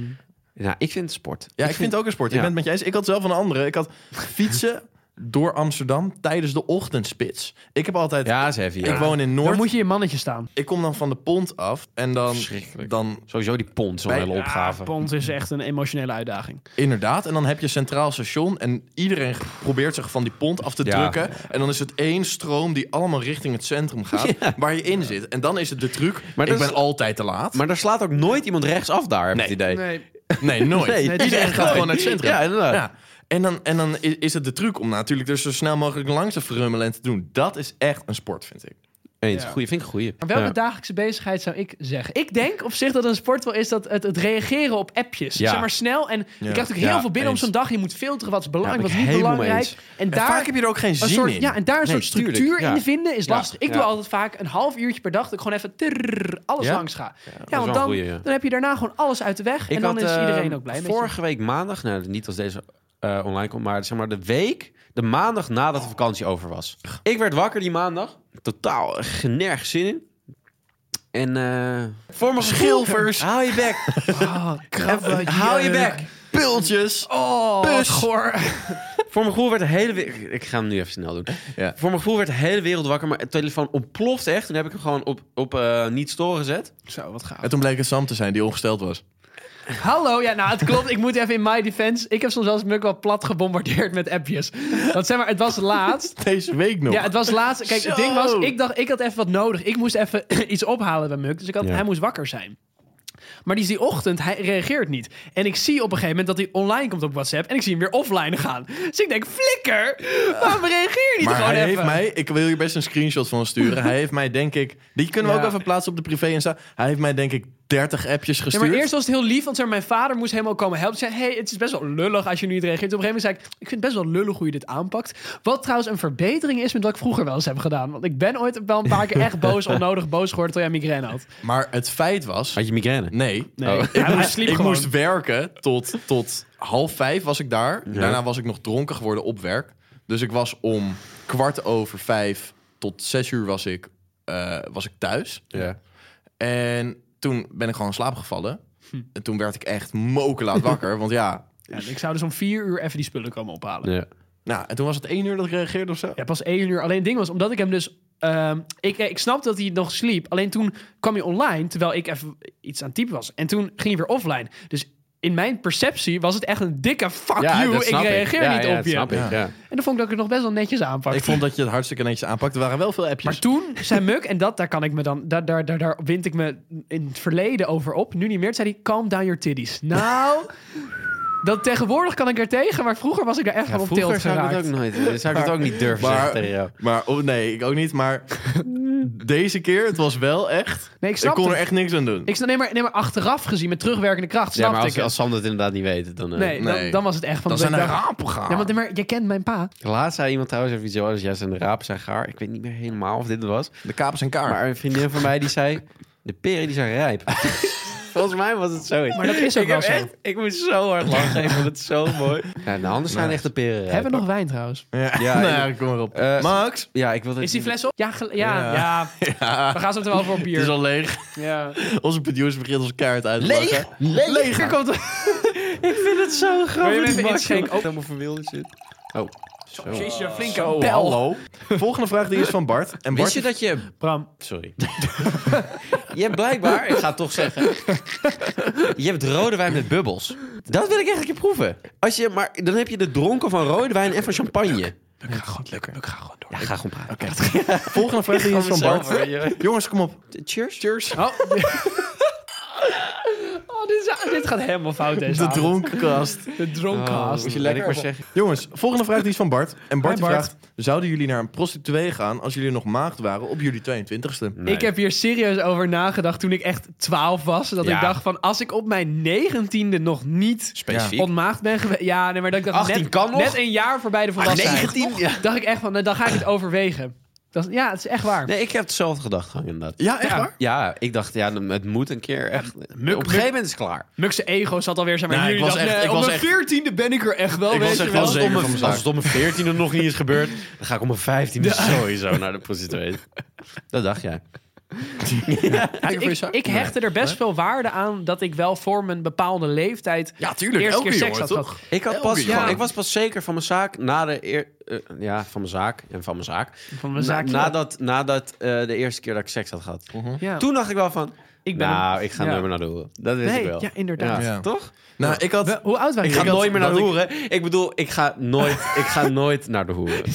Speaker 3: Nou, ik vind het sport.
Speaker 1: Ja, ik vind het ook een sport. Ik
Speaker 3: Ja.
Speaker 1: ben het met je eens. Ik had zelf een andere. Ik had fietsen door Amsterdam tijdens de ochtendspits. Ik heb altijd...
Speaker 3: Ja, is heavy.
Speaker 1: Ik woon in Noord.
Speaker 2: Dan moet je je mannetje staan.
Speaker 1: Ik kom dan van de pont af. En dan...
Speaker 3: Verschrikkelijk.
Speaker 1: dan
Speaker 3: Sowieso die pont, zo'n
Speaker 1: Bij-
Speaker 3: hele opgave.
Speaker 2: Ja, Pont is echt een emotionele uitdaging.
Speaker 1: inderdaad. En dan heb je Centraal Station. En iedereen probeert zich van die pont af te
Speaker 3: Ja.
Speaker 1: drukken. En dan is het één stroom die allemaal richting het centrum gaat. Waar je in zit. En dan is het de truc.
Speaker 3: Maar
Speaker 1: ik
Speaker 3: dat
Speaker 1: ben
Speaker 3: is-
Speaker 1: altijd te laat.
Speaker 3: maar daar slaat ook nooit iemand rechtsaf daar, heb ik
Speaker 1: Nee.
Speaker 3: het idee.
Speaker 2: Nee.
Speaker 1: Nee, nooit.
Speaker 3: Nee,
Speaker 2: het is
Speaker 1: iedereen
Speaker 2: echt
Speaker 1: gaat
Speaker 2: nooit.
Speaker 1: gewoon naar het centrum.
Speaker 3: Ja, inderdaad.
Speaker 1: Ja. En dan, en dan i- is het de truc om natuurlijk er zo snel mogelijk langs te frummelen en te doen. Dat is echt een sport, vind ik.
Speaker 3: Eens,
Speaker 2: Ja.
Speaker 3: goeie, vind ik een goeie.
Speaker 2: Maar welke
Speaker 3: Ja.
Speaker 2: dagelijkse bezigheid zou ik zeggen? Ik denk op zich dat een sport wel is dat het, het reageren op appjes.
Speaker 3: Ja.
Speaker 2: Zeg maar snel. En je krijgt ook heel
Speaker 3: Ja,
Speaker 2: veel binnen
Speaker 3: eens.
Speaker 2: op zo'n dag. Je moet filteren wat is
Speaker 3: Ja,
Speaker 2: belangrijk,
Speaker 3: ben
Speaker 2: wat
Speaker 3: ik
Speaker 2: is niet
Speaker 3: helemaal
Speaker 2: belangrijk.
Speaker 3: mee
Speaker 2: En
Speaker 1: En
Speaker 2: daar,
Speaker 1: vaak heb je er ook geen
Speaker 2: een
Speaker 1: zin
Speaker 2: soort,
Speaker 1: in.
Speaker 2: ja, en daar een
Speaker 3: Nee,
Speaker 2: soort structuur
Speaker 3: tuurlijk, ja.
Speaker 2: in vinden is
Speaker 3: Ja,
Speaker 2: lastig. Ik
Speaker 3: ja.
Speaker 2: doe altijd vaak een half uurtje per dag. Dat ik gewoon even trrrr, alles
Speaker 1: Ja?
Speaker 2: langs ga. Ja,
Speaker 3: wel
Speaker 2: want
Speaker 3: een
Speaker 2: dan,
Speaker 3: goeie, ja.
Speaker 2: dan heb je daarna gewoon alles uit de weg.
Speaker 3: Ik
Speaker 2: en dan
Speaker 3: had,
Speaker 2: is
Speaker 3: eh,
Speaker 2: iedereen ook blij met je.
Speaker 3: Vorige week maandag, nou, niet als deze eh, online komt, maar zeg maar de week, de maandag nadat
Speaker 1: Oh.
Speaker 3: de vakantie over was. Ik werd wakker die maandag, totaal generg zin in. En eh voor mijn schilvers. Haal je bek.
Speaker 2: Ah, krabben,
Speaker 3: Haal je
Speaker 2: jeuk.
Speaker 3: bek.
Speaker 1: Pultjes.
Speaker 2: Oh, wat
Speaker 1: Pus.
Speaker 2: goor.
Speaker 3: Voor mijn gevoel werd de hele wereld... Ik ga hem nu even snel doen.
Speaker 1: Ja.
Speaker 3: Voor mijn gevoel werd de hele wereld wakker, maar het telefoon ontploft echt. En heb ik hem gewoon op, op eh, niet storen gezet.
Speaker 2: Zo, wat gaaf.
Speaker 1: En toen bleek het Sam te zijn die ongesteld was.
Speaker 2: Hallo, ja, nou, het klopt. Ik moet even in my defense. Ik heb soms wel eens Muk wel plat gebombardeerd met appjes. Want zeg maar, het was laatst.
Speaker 1: Deze week nog.
Speaker 2: Ja, het was laatst. Kijk, het
Speaker 1: Zo.
Speaker 2: ding was, ik dacht, ik had even wat nodig. Ik moest even iets ophalen bij Muk. Dus ik had,
Speaker 3: Ja.
Speaker 2: hij moest wakker zijn. Maar die is die ochtend, hij reageert niet. En ik zie op een gegeven moment dat hij online komt op WhatsApp. En ik zie hem weer offline gaan. Dus ik denk, flikker! Waarom reageer je niet
Speaker 1: maar
Speaker 2: gewoon
Speaker 1: hij
Speaker 2: even?
Speaker 1: heeft mij, ik wil hier best een screenshot van sturen. hij heeft mij, denk ik, die kunnen we
Speaker 2: Ja.
Speaker 1: ook even plaatsen op de privé Insta. Hij heeft mij, denk ik, 30 appjes
Speaker 2: Ja,
Speaker 1: gestuurd.
Speaker 2: maar eerst was het heel lief, want zeg maar, mijn vader moest helemaal komen helpen. Zei, hey, het is best wel lullig als je nu niet reageert. Op een gegeven moment zei ik, ik vind het best wel lullig hoe je dit aanpakt. Wat trouwens een verbetering is met wat ik vroeger wel eens heb gedaan. Want ik ben ooit wel een paar keer echt boos, onnodig boos geworden toen jij migraine had.
Speaker 1: Maar het feit was...
Speaker 3: Had je migraine?
Speaker 1: Nee.
Speaker 2: Nee, hij, hij sliep
Speaker 1: Oh. ik
Speaker 2: gewoon.
Speaker 1: moest werken tot, tot half vijf was ik daar. Daarna was ik nog dronken geworden op werk. Dus ik was om kwart over vijf tot zes uur was ik, eh, was ik thuis.
Speaker 3: Ja.
Speaker 1: En toen ben ik gewoon in slaap gevallen.
Speaker 2: Hm.
Speaker 1: En toen werd ik echt mokenlaat wakker. want ja,
Speaker 2: Ja, ik zou dus om vier uur even die spullen komen ophalen.
Speaker 3: ja.
Speaker 1: nou, en toen was het één uur dat ik reageerde of zo.
Speaker 2: Ja, pas één uur. Alleen het ding was, omdat ik hem dus... ehm, ik, ik snap dat hij nog sliep. Alleen toen kwam hij online, terwijl ik even iets aan het typen was. En toen ging hij weer offline. Dus in mijn perceptie was het echt een dikke fuck you. Ah, Ik reageer
Speaker 3: Ja,
Speaker 2: niet
Speaker 3: ja,
Speaker 2: op
Speaker 3: dat
Speaker 2: je.
Speaker 3: snap ik, ja.
Speaker 2: En dan vond ik dat ik het nog best wel netjes aanpakte.
Speaker 1: Ik vond dat je het hartstikke netjes aanpakte. Er waren wel veel appjes.
Speaker 2: Maar toen zei Muk, en dat, daar kan ik me dan, daar, daar, daar, daar wind ik me in het verleden over op. Nu niet meer. Toen zei hij, calm down your titties. Nou, dat tegenwoordig kan ik er tegen, maar vroeger was ik daar echt
Speaker 3: Ja,
Speaker 2: van op tilt
Speaker 3: vroeger zou ik het
Speaker 2: geraakt.
Speaker 3: ook nooit. eh, Zou ik het ook niet durven
Speaker 1: Maar-
Speaker 3: zeggen tegen jou.
Speaker 1: Maar oh, nee, ik ook niet. Maar deze keer, het was wel echt.
Speaker 2: Nee, ik
Speaker 1: Ik
Speaker 2: snap
Speaker 1: kon er
Speaker 2: het.
Speaker 1: echt niks aan doen.
Speaker 2: Ik snap, nee, maar, nee, maar achteraf gezien, met terugwerkende kracht, snap
Speaker 3: Ja, maar
Speaker 2: ik
Speaker 3: als,
Speaker 2: het.
Speaker 3: als Sander het inderdaad niet weet, dan... eh.
Speaker 2: nee, Dan,
Speaker 1: Nee.
Speaker 2: dan was het echt van...
Speaker 1: Dan
Speaker 2: dat
Speaker 1: zijn
Speaker 2: ik
Speaker 1: er
Speaker 2: dacht-
Speaker 1: rapen gegaan.
Speaker 2: Ja, want maar, je kent mijn pa.
Speaker 3: Laatst zei iemand trouwens even iets heel anders. Ja, zijn de rapen zijn gaar. Ik weet niet meer helemaal of dit het was.
Speaker 1: De kapers en kaart.
Speaker 3: Maar een vriendin van mij die zei... De peren die zijn rijp. Volgens mij was het zoiets.
Speaker 2: Maar dat is ook
Speaker 3: ik,
Speaker 2: wel
Speaker 3: heb
Speaker 2: zo.
Speaker 3: echt- ik moest zo hard lachen. Ik vond het zo mooi. Ja, de anders zijn echt de peren rijp.
Speaker 2: Hebben we nog wijn trouwens?
Speaker 1: Ja,
Speaker 3: Ja,
Speaker 1: nou, kom maar op.
Speaker 3: Eh,
Speaker 1: Max?
Speaker 3: Ja, ik wilde...
Speaker 2: Is die fles op? Ja, gel- ja, ja.
Speaker 1: Ja.
Speaker 2: We gaan zo meteen wel voor bier.
Speaker 1: Het is al leeg.
Speaker 2: ja.
Speaker 1: Onze producer begint ons kaart uit te
Speaker 3: Leeg?
Speaker 1: lachen.
Speaker 3: Leeg?
Speaker 2: Hier komt het.
Speaker 3: het zo
Speaker 2: Wil je hem
Speaker 3: grappig.
Speaker 2: even inschenken? Oh.
Speaker 3: helemaal verwilderd zit. Oh, zo.
Speaker 2: Jezus, je flinke
Speaker 1: Zo,
Speaker 2: bel.
Speaker 1: hallo. Volgende vraag die is van Bart. En Bart,
Speaker 3: Wist je dat je...
Speaker 2: Bram,
Speaker 3: Sorry. je hebt blijkbaar, ik ga het toch zeggen... Je hebt rode wijn met bubbels. Dat wil ik echt een keer proeven. Als je, maar dan heb je de dronken van rode wijn en van champagne.
Speaker 1: Ik ga gewoon lekker. Ik ga gewoon door.
Speaker 3: Ja, ga gewoon praten.
Speaker 1: Volgende vraag die is van Bart.
Speaker 3: Bart.
Speaker 1: Jongens, kom op.
Speaker 3: Cheers. Cheers.
Speaker 2: Oh. Oh, dit, is- dit gaat helemaal fout deze
Speaker 1: De Oh,
Speaker 2: avond.
Speaker 1: dronkenkast.
Speaker 2: De dronkcast.
Speaker 3: Moet je lekker maar zeggen.
Speaker 1: Jongens, volgende vraag die is van Bart. En Bart, die
Speaker 2: Bart.
Speaker 1: vraagt, zouden jullie naar een prostituee gaan als jullie nog maagd waren op jullie 22ste?
Speaker 2: Ik heb hier serieus over nagedacht toen ik echt 12 was. Dat
Speaker 3: Ja.
Speaker 2: ik dacht van, als ik op mijn negentiende nog niet
Speaker 3: Specifiek.
Speaker 2: ontmaagd ben geweest... Ja, nee, maar dat ik dacht
Speaker 3: 18
Speaker 2: net,
Speaker 3: kan nog.
Speaker 2: net een jaar voorbij de volwassenheid.
Speaker 3: 19? Ja.
Speaker 2: dacht ik echt van, nou, dan ga ik het overwegen. Dat, ja, het is echt waar.
Speaker 3: Nee, ik heb hetzelfde gedacht gewoon inderdaad.
Speaker 1: Ja, echt waar?
Speaker 3: Ja, ik dacht, ja, het moet een keer echt. op een
Speaker 2: muk.
Speaker 3: gegeven moment is het klaar.
Speaker 2: Mukse ego zat alweer, zeg maar,
Speaker 1: Nou,
Speaker 2: jullie
Speaker 1: ik was
Speaker 2: dachten,
Speaker 1: echt-
Speaker 2: nee,
Speaker 1: ik
Speaker 2: op
Speaker 1: was
Speaker 2: mijn
Speaker 1: echt-
Speaker 2: veertiende ben ik er echt wel,
Speaker 1: Ik was
Speaker 2: weet je
Speaker 1: echt
Speaker 2: wel.
Speaker 1: wel zeker van
Speaker 3: als
Speaker 1: mezelf.
Speaker 3: het om mijn veertiende nog niet is gebeurd, dan ga ik om mijn vijftiende sowieso naar de prostituee. Dat dacht jij.
Speaker 2: Ik, ik hechtte er best veel waarde aan dat ik wel voor mijn bepaalde leeftijd...
Speaker 1: Ja,
Speaker 2: de
Speaker 1: tuurlijk.
Speaker 2: eerste
Speaker 1: Elke
Speaker 2: keer seks
Speaker 1: jongen,
Speaker 2: had
Speaker 1: toch?
Speaker 2: gehad.
Speaker 3: Ik, had
Speaker 1: Elke
Speaker 3: pas,
Speaker 1: jongen.
Speaker 3: gewoon- ik was pas zeker van mijn zaak na de eer, eh, ja, van mijn zaak en van mijn zaak.
Speaker 2: Van mijn zaak.
Speaker 3: Na- nadat nadat eh, de eerste keer dat ik seks had gehad.
Speaker 2: ja.
Speaker 3: Toen dacht ik wel van,
Speaker 2: ik ben
Speaker 3: nou, ik ga
Speaker 2: ja.
Speaker 3: nooit meer naar de hoeren. Dat wist
Speaker 2: Nee,
Speaker 3: ik wel.
Speaker 2: ja, inderdaad.
Speaker 1: Ja.
Speaker 3: Toch?
Speaker 1: Nou, ik had...
Speaker 2: Hoe oud waren
Speaker 3: Ik ga
Speaker 2: jullie?
Speaker 3: nooit meer naar de
Speaker 1: dat ik-
Speaker 3: hoeren. Ik... bedoel, ik ga nooit, ik ga nooit naar de hoeren.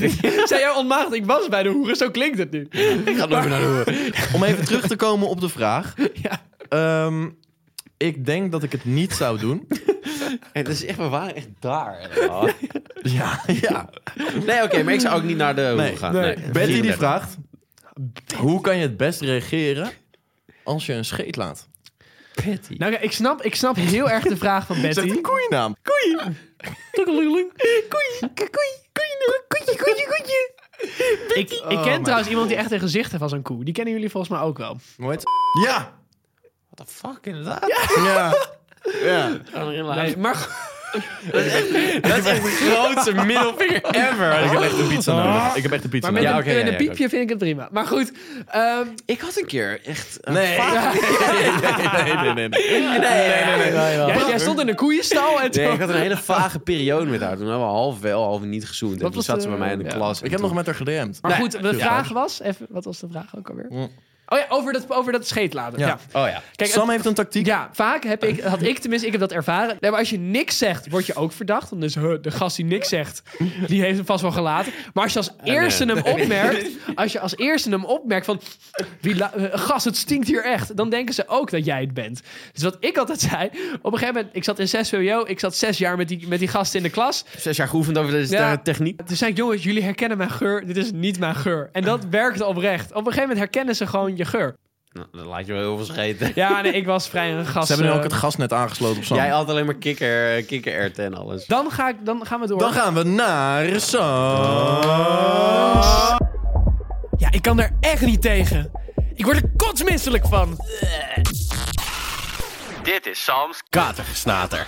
Speaker 2: Zijn jij ontmaagd? Ik was bij de hoeren, zo klinkt het nu.
Speaker 3: Ik ga nooit meer naar de hoeren.
Speaker 1: Om even terug te komen op de vraag.
Speaker 2: Ja.
Speaker 1: Ehm, ik denk dat ik het niet zou doen.
Speaker 3: En dat is echt, we waren echt daar. helemaal.
Speaker 1: Ja, ja.
Speaker 3: Nee, oké, maar ik zou ook niet naar de hoeren
Speaker 1: Nee,
Speaker 3: gaan.
Speaker 2: nee.
Speaker 3: Nee.
Speaker 1: Betty die vraagt... Hoe kan je het best reageren als je een scheet laat?
Speaker 3: Betty.
Speaker 2: Nou, kijk, ik snap, ik snap heel erg de vraag van
Speaker 1: Zegt
Speaker 2: Betty.
Speaker 1: een koeiennaam.
Speaker 2: Koeieloeloeloe. Koeie, koeie, koeie, koeie, koeie, koeie. Ik, ik ken trouwens iemand die echt een gezicht heeft als een koe. Die kennen jullie volgens mij ook wel.
Speaker 1: Hoe heet Ja!
Speaker 3: What the fuck, inderdaad? Ja.
Speaker 1: Ja. Ja.
Speaker 2: Nee, maar
Speaker 3: Dat is echt de grootste middelvinger ever.
Speaker 1: Ik heb echt een pizza nodig. Ik heb echt een pizza
Speaker 2: maar met eh,
Speaker 1: nodig.
Speaker 3: Ja,
Speaker 2: een,
Speaker 3: oké,
Speaker 2: met
Speaker 3: ja,
Speaker 2: een
Speaker 3: ja,
Speaker 2: piepje vind ik het prima. Maar goed, ehm,
Speaker 3: Ik had een keer echt... een
Speaker 1: Nee.
Speaker 3: vaag-
Speaker 1: Nee, nee, nee. nee.
Speaker 3: Nee, nee, nee. nee,
Speaker 2: jij, jij stond in een koeienstal en toen...
Speaker 3: Nee, ik had een hele vage periode met haar. Toen hebben we half wel, half niet gezoend. En
Speaker 2: Wat
Speaker 3: toen
Speaker 2: was
Speaker 3: zat
Speaker 2: de-
Speaker 3: ze bij mij in de
Speaker 2: ja.
Speaker 3: klas.
Speaker 1: Ik heb nog met haar gedm'd.
Speaker 2: Maar
Speaker 3: Nee,
Speaker 2: goed, de vraag was... Even, wat was de vraag ook alweer? Oh ja, over dat, over dat scheetladen. Ja.
Speaker 1: Ja.
Speaker 3: Oh ja.
Speaker 2: Kijk, het-
Speaker 1: Sam heeft een tactiek.
Speaker 2: Ja, vaak heb ik, had ik tenminste, ik heb dat ervaren. Nee, maar als je niks zegt, word je ook verdacht. Want dus huh, de gast die niks zegt, die heeft hem vast wel gelaten. Maar als je
Speaker 1: Ah,
Speaker 2: als eerste hem opmerkt, als je als eerste hem opmerkt van, wie la- eh, gast, het stinkt hier echt. Dan denken ze ook dat jij het bent. Dus wat ik altijd zei, op een gegeven moment, ik zat in 6 VWO, ik zat zes jaar met die, met die gasten in de klas.
Speaker 3: Zes jaar geoefend over deze
Speaker 2: Ja.
Speaker 3: techniek.
Speaker 2: Toen zei ik, jongens, jullie herkennen mijn geur, dit is niet mijn geur. En dat werkte oprecht. Op een gegeven moment herkennen ze gewoon je geur.
Speaker 3: Nou, dat laat je wel heel veel scheten.
Speaker 2: Ja, nee, ik was vrij een gast.
Speaker 1: Ze hebben nu
Speaker 2: eh,
Speaker 1: ook het gasnet aangesloten op Sam.
Speaker 3: Jij had alleen maar kikker, kikkererwten en alles.
Speaker 2: dan, ga ik, dan gaan we door.
Speaker 1: Dan gaan we naar Sam.
Speaker 2: Ja, ik kan daar echt niet tegen. Ik word er kotsmisselijk van.
Speaker 3: Dit is Sam's Katergesnater.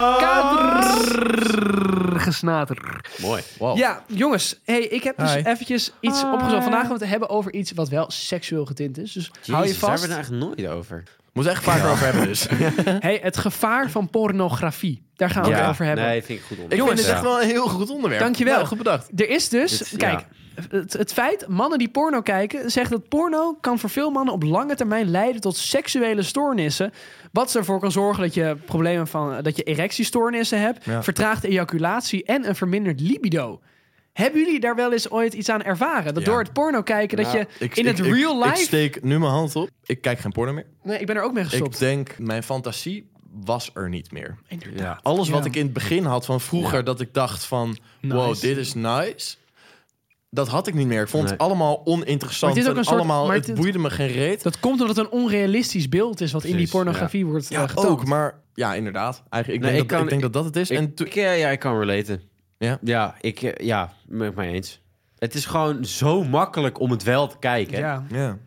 Speaker 2: Gesnater.
Speaker 3: Mooi. Wow.
Speaker 2: Ja, jongens. Hey, ik heb dus
Speaker 1: Hi.
Speaker 2: eventjes iets opgezocht. Vandaag gaan we het hebben over iets wat wel seksueel getint is. Dus hou je
Speaker 3: Jezus, Daar hebben
Speaker 2: vast.
Speaker 3: we het eigenlijk nooit over.
Speaker 1: Moet echt vaker over hebben dus.
Speaker 2: Hey, het gevaar van pornografie. Daar gaan we het over hebben.
Speaker 3: Nee, vind ik goed onder.
Speaker 1: Ik
Speaker 2: Jongens,
Speaker 1: vind dit
Speaker 2: ja.
Speaker 1: echt wel een heel goed onderwerp.
Speaker 2: Dankjewel.
Speaker 1: Ja, goed bedacht.
Speaker 2: Er is dus,
Speaker 3: Dit-
Speaker 2: kijk, het, het feit, mannen die porno kijken, zegt dat porno kan voor veel mannen op lange termijn leiden tot seksuele stoornissen. Wat ervoor kan zorgen dat je problemen van, dat je erectiestoornissen hebt,
Speaker 1: Ja.
Speaker 2: vertraagde ejaculatie en een verminderd libido. Hebben jullie daar wel eens ooit iets aan ervaren? Dat
Speaker 1: Ja. Nou,
Speaker 2: door het porno kijken, dat
Speaker 3: Ja,
Speaker 2: je
Speaker 1: Ik-
Speaker 2: in
Speaker 1: ik-
Speaker 2: het
Speaker 1: ik-
Speaker 2: real life...
Speaker 1: Ik steek nu mijn hand op. Ik kijk geen porno meer.
Speaker 2: nee, ik ben er ook mee gestopt.
Speaker 1: Ik denk, mijn fantasie was er niet meer.
Speaker 2: Inderdaad.
Speaker 3: Ja.
Speaker 1: Alles wat
Speaker 2: Ja.
Speaker 1: ik in het begin had van vroeger, dat ik dacht van, wow, dit is nice. Dat had ik niet meer. Ik vond
Speaker 3: Nee.
Speaker 1: het allemaal oninteressant.
Speaker 2: Maar het is ook
Speaker 1: en
Speaker 2: een soort-
Speaker 1: allemaal,
Speaker 2: maar
Speaker 1: het,
Speaker 2: het-
Speaker 1: boeide me geen reet.
Speaker 2: Dat komt omdat het een onrealistisch beeld is wat in die
Speaker 3: Precies,
Speaker 2: pornografie wordt eh,
Speaker 1: Ja,
Speaker 2: ja,
Speaker 1: ook, maar ja, inderdaad. Eigenlijk, ik,
Speaker 3: Nee,
Speaker 1: denk
Speaker 3: ik
Speaker 1: dat,
Speaker 3: kan-
Speaker 1: ik denk dat dat het is.
Speaker 3: Ik,
Speaker 1: en toen-
Speaker 3: ik, eh, ja, ik kan relaten.
Speaker 1: Ja?
Speaker 3: Ja, ik, eh, ja, ben ik mee eens. Het is gewoon zo makkelijk om het wel te kijken.
Speaker 2: Ja.
Speaker 1: ja.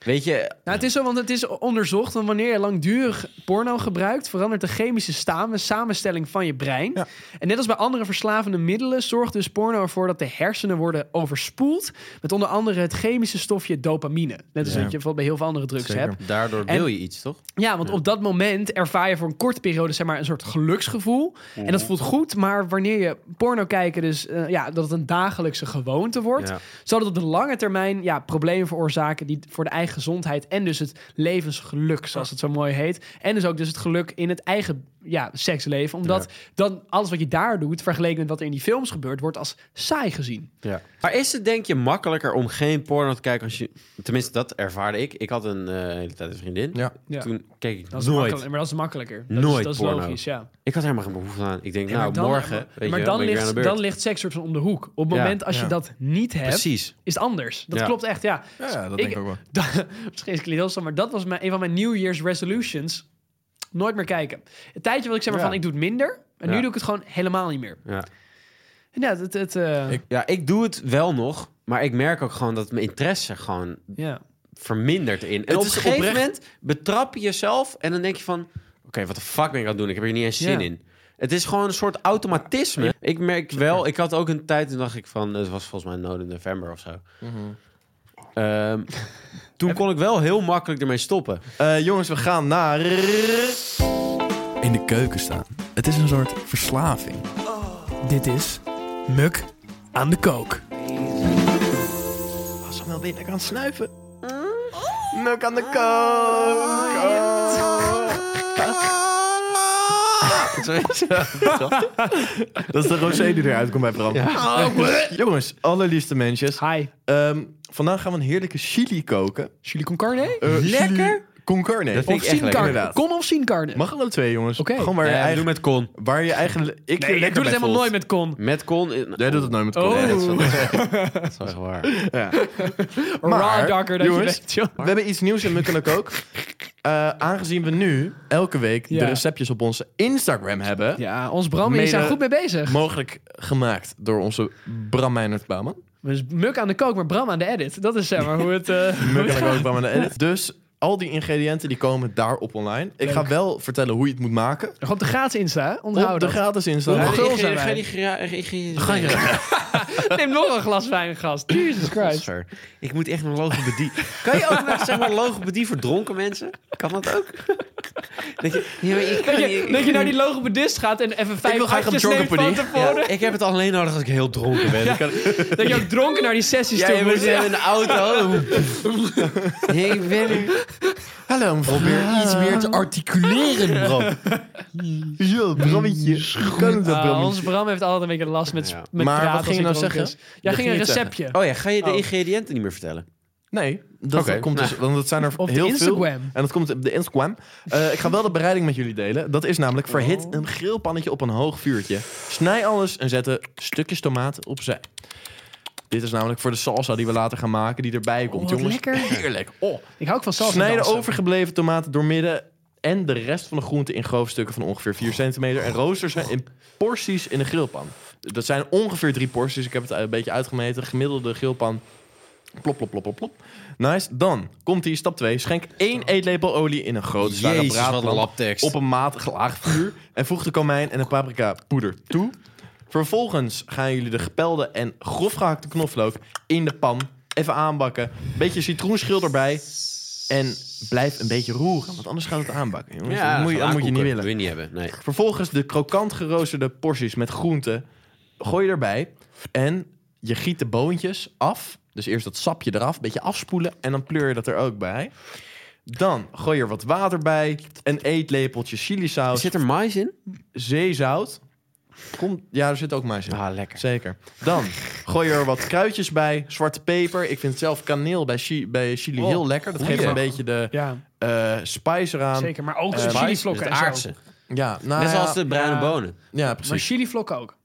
Speaker 3: Weet je,
Speaker 2: Nou, het is zo, want het is onderzocht. Want wanneer je langdurig porno gebruikt, verandert de chemische stamen- samenstelling van je brein.
Speaker 1: Ja.
Speaker 2: En net als bij andere verslavende middelen, zorgt dus porno ervoor dat de hersenen worden overspoeld. Met onder andere het chemische stofje dopamine. Net als
Speaker 1: Ja.
Speaker 2: wat je bijvoorbeeld bij heel veel andere drugs
Speaker 1: Zeker.
Speaker 2: hebt.
Speaker 3: daardoor
Speaker 2: En-
Speaker 3: wil je iets, toch?
Speaker 2: Ja, want op dat moment ervaar je voor een korte periode zeg maar, een soort geluksgevoel. En
Speaker 3: Mhm.
Speaker 2: dat voelt goed, maar wanneer je porno kijken, dus eh, ja, dat het een dagelijkse gewoonte wordt.
Speaker 3: Ja.
Speaker 2: Zodat op de lange termijn ja, problemen veroorzaken die voor de eigen gezondheid en dus het levensgeluk, zoals het zo mooi heet. En dus ook dus het geluk in het eigen ja, seksleven. Omdat dan alles wat je daar doet, vergeleken met wat er in die films gebeurt, wordt als saai gezien.
Speaker 3: Ja. Maar is het denk je makkelijker om geen porno te kijken als je... Tenminste, dat ervaarde ik. Ik had een eh, hele tijd een vriendin.
Speaker 1: Ja.
Speaker 2: Ja.
Speaker 3: Toen keek ik
Speaker 2: Dat is
Speaker 3: nooit.
Speaker 2: makkelijk- Maar dat is makkelijker. Dat is,
Speaker 3: Nooit
Speaker 2: dat is
Speaker 3: porno.
Speaker 2: logisch, ja.
Speaker 3: Ik had er helemaal geen behoefte aan. Ik denk,
Speaker 2: Ja,
Speaker 3: nou,
Speaker 2: maar dan-
Speaker 3: morgen
Speaker 2: maar-
Speaker 3: weet
Speaker 2: maar
Speaker 3: je,
Speaker 2: dan,
Speaker 3: ben ik weer aan de
Speaker 2: ligt,
Speaker 3: beurt.
Speaker 2: dan ligt seks soort van om de hoek. Op het
Speaker 3: Ja.
Speaker 2: moment als je
Speaker 1: Ja.
Speaker 2: dat niet hebt,
Speaker 3: Precies.
Speaker 2: is het anders. Dat
Speaker 3: Ja.
Speaker 2: klopt echt, ja.
Speaker 1: ja, dat
Speaker 2: Ik-
Speaker 1: denk ik ook wel.
Speaker 2: Da- Misschien is het heel stom, maar dat was mijn, een van mijn New Year's resolutions. Nooit meer kijken. Een tijdje wil ik zeg maar
Speaker 3: Ja.
Speaker 2: van, ik doe het minder. En
Speaker 3: Ja.
Speaker 2: nu doe ik het gewoon helemaal niet meer.
Speaker 3: Ja.
Speaker 2: En ja, het, het, eh,
Speaker 1: Ik-
Speaker 3: ja, ik doe het wel nog. Maar ik merk ook gewoon dat mijn interesse gewoon
Speaker 2: ja.
Speaker 3: vermindert in. En
Speaker 1: Het
Speaker 3: op een
Speaker 1: is
Speaker 3: gegeven
Speaker 1: oprecht-
Speaker 3: moment betrap je jezelf en dan denk je van... Oké, wat de fuck ben ik aan het doen? Ik heb hier niet eens zin
Speaker 2: Ja.
Speaker 3: in. Het is gewoon een soort automatisme. Ik merk wel, ik had ook een tijd, toen dacht ik van... Het was volgens mij nood in november of zo. Ehm, toen kon ik wel heel makkelijk ermee stoppen.
Speaker 1: Eh, jongens, we gaan naar... In de keuken staan. Het is een soort verslaving.
Speaker 4: Dit is Muk aan de Kook.
Speaker 1: Was wel ben ik nou aan het snuiven? Muk aan de kook. Dat is de rosé die eruit komt bij Bram. Jongens, allerliefste mensjes.
Speaker 2: Hi.
Speaker 1: Ehm, vandaag gaan we een heerlijke chili koken.
Speaker 2: Chili con carne?
Speaker 1: Eh, chili
Speaker 3: Lekker?
Speaker 1: Con carne.
Speaker 3: Dat vind
Speaker 2: Of
Speaker 3: ik echt
Speaker 2: sin
Speaker 3: lekker,
Speaker 2: carne?
Speaker 1: inderdaad.
Speaker 2: Kom of sin carne?
Speaker 1: Mag alle twee, jongens.
Speaker 2: Oké.
Speaker 1: Gewoon waar,
Speaker 3: Maar
Speaker 1: je
Speaker 3: ja,
Speaker 1: eigen,
Speaker 3: doe met Con.
Speaker 1: waar je eigenlijk... Ik
Speaker 2: nee, ik doe het helemaal nooit met con.
Speaker 3: Met Con... eh,
Speaker 1: Jij doet het nooit met
Speaker 2: Oh.
Speaker 1: Con.
Speaker 3: Nee, dat is wel- dat is wel echt waar.
Speaker 1: Ja.
Speaker 2: Raw
Speaker 1: Maar,
Speaker 2: darker dat je
Speaker 1: jongens,
Speaker 2: weet, joh.
Speaker 1: We hebben iets nieuws in Muk en de Kook. Eh, aangezien we nu elke week
Speaker 2: Ja.
Speaker 1: de receptjes op onze Instagram hebben.
Speaker 2: Ja, ons Bram is daar
Speaker 1: Mede-
Speaker 2: goed mee bezig.
Speaker 1: Mogelijk gemaakt door onze Bram Meijnerd Bouwman.
Speaker 2: Dus Muk aan de kook, maar Bram aan de edit. Dat is zeg maar hoe het... eh,
Speaker 1: Muk en de Kook Bram en de Edit. Dus al die ingrediënten die komen daarop online. Ik ga wel vertellen hoe je het moet maken.
Speaker 2: Gewoon de gratis Insta, hè?
Speaker 1: Op
Speaker 2: onthoud
Speaker 1: de
Speaker 2: dat.
Speaker 1: gratis Insta.
Speaker 2: Hoe
Speaker 3: Ja,
Speaker 2: gul zijn
Speaker 3: ik-
Speaker 2: wij?
Speaker 3: ga die gra- ik- ik-
Speaker 2: Neem nog een glas wijn, gast. Jesus Christ.
Speaker 3: Godver. Ik moet echt een logopedie. kan je ook nog zeg maar logopedie voor dronken mensen? Kan dat ook? Denk je, ja, maar ik, kan
Speaker 2: Dat je,
Speaker 3: niet-
Speaker 2: dat je naar die logopedist gaat en even
Speaker 1: wil
Speaker 2: vijf
Speaker 1: graag een
Speaker 2: hartjes neemt van
Speaker 1: joggingpony.
Speaker 2: tevoren.
Speaker 3: Ja, ik heb het alleen nodig als ik heel dronken ben. Ja,
Speaker 2: Dat je ook dronken naar die sessies toe
Speaker 3: Jij
Speaker 2: moet.
Speaker 3: bent
Speaker 2: Ja.
Speaker 3: in de auto. Nee, ik ben er.
Speaker 1: Hallo, Probeer iets meer te articuleren, Bram. Zo, Brammetje. Hoe kan het dat,
Speaker 2: Ah,
Speaker 1: Brammetje?
Speaker 2: onze Bram heeft altijd een beetje last met,
Speaker 3: Ja.
Speaker 2: met
Speaker 1: Maar
Speaker 2: praten
Speaker 1: wat
Speaker 2: als
Speaker 1: ging je
Speaker 2: hij
Speaker 1: nou
Speaker 2: dronken
Speaker 1: zeggen?
Speaker 2: is. Jij
Speaker 1: Dat
Speaker 2: ging
Speaker 1: ging
Speaker 2: een
Speaker 1: je
Speaker 2: receptje.
Speaker 3: Oh ja, ga je de
Speaker 2: Oh.
Speaker 3: ingrediënten niet meer vertellen?
Speaker 1: Oh, Nee, dat
Speaker 3: Oké.
Speaker 1: komt dus, want dat zijn er
Speaker 2: Op de
Speaker 1: heel
Speaker 2: Instagram.
Speaker 1: veel. En dat komt op de Instagram. Eh, ik ga wel de bereiding met jullie delen. Dat is namelijk verhit
Speaker 2: Oh.
Speaker 1: een grillpannetje op een hoog vuurtje. Snij alles en zet de stukjes tomaat opzij. Dit is namelijk voor de salsa die we later gaan maken, die erbij komt.
Speaker 2: Oh, wat
Speaker 1: Jongens,
Speaker 2: lekker.
Speaker 1: heerlijk. Oh,
Speaker 2: Ik hou ook van salsa.
Speaker 1: Snijden
Speaker 2: dansen.
Speaker 1: overgebleven tomaten doormidden en de rest van de groenten in groofstukken van ongeveer 4 centimeter. En rooster ze in porties in de grillpan. Dat zijn ongeveer drie porties. Ik heb het een beetje uitgemeten. Gemiddelde grillpan. Plop, plop, plop, plop, plop. Nice. Dan komt hier stap 2. Schenk één eetlepel olie in een grote zware
Speaker 3: Jezus, wat een
Speaker 1: braadpan
Speaker 3: labtekst.
Speaker 1: op een matig laag vuur. En voeg de komijn en de paprika poeder toe. Vervolgens gaan jullie de gepelde en grof gehakte knoflook in de pan even aanbakken. Beetje citroenschil erbij. En blijf een beetje roeren, want anders gaat het aanbakken. Jongens. dat moet je, dat moet je niet
Speaker 3: Dat
Speaker 1: willen.
Speaker 3: wil je niet hebben, nee.
Speaker 1: Vervolgens de krokant geroosterde porties met groenten gooi je erbij. En je giet de boontjes af. Dus eerst dat sapje eraf, een beetje afspoelen. En dan pleur je dat er ook bij. Dan gooi je er wat water bij. Een eetlepeltje chilisaus,
Speaker 3: Zit er mais in?
Speaker 1: zeezout. Kom, ja, er zit ook mais in.
Speaker 3: Ah, lekker.
Speaker 1: Zeker. Dan gooi je er wat kruidjes bij, zwarte peper. Ik vind zelf kaneel bij, chi- bij chili
Speaker 2: Oh,
Speaker 1: heel lekker. Dat geeft
Speaker 3: goeie.
Speaker 1: een beetje de
Speaker 2: Ja,
Speaker 1: eh, spice eraan.
Speaker 2: zeker. Maar ook
Speaker 1: Eh,
Speaker 2: de
Speaker 1: mais,
Speaker 2: chili
Speaker 3: Dat is
Speaker 2: vlokken
Speaker 3: het
Speaker 2: en zo.
Speaker 3: aardse.
Speaker 1: Ja, nou
Speaker 3: Net
Speaker 1: ja,
Speaker 3: zoals de bruine
Speaker 2: ja.
Speaker 3: bonen.
Speaker 1: ja,
Speaker 2: Maar
Speaker 1: precies.
Speaker 2: chili vlokken ook.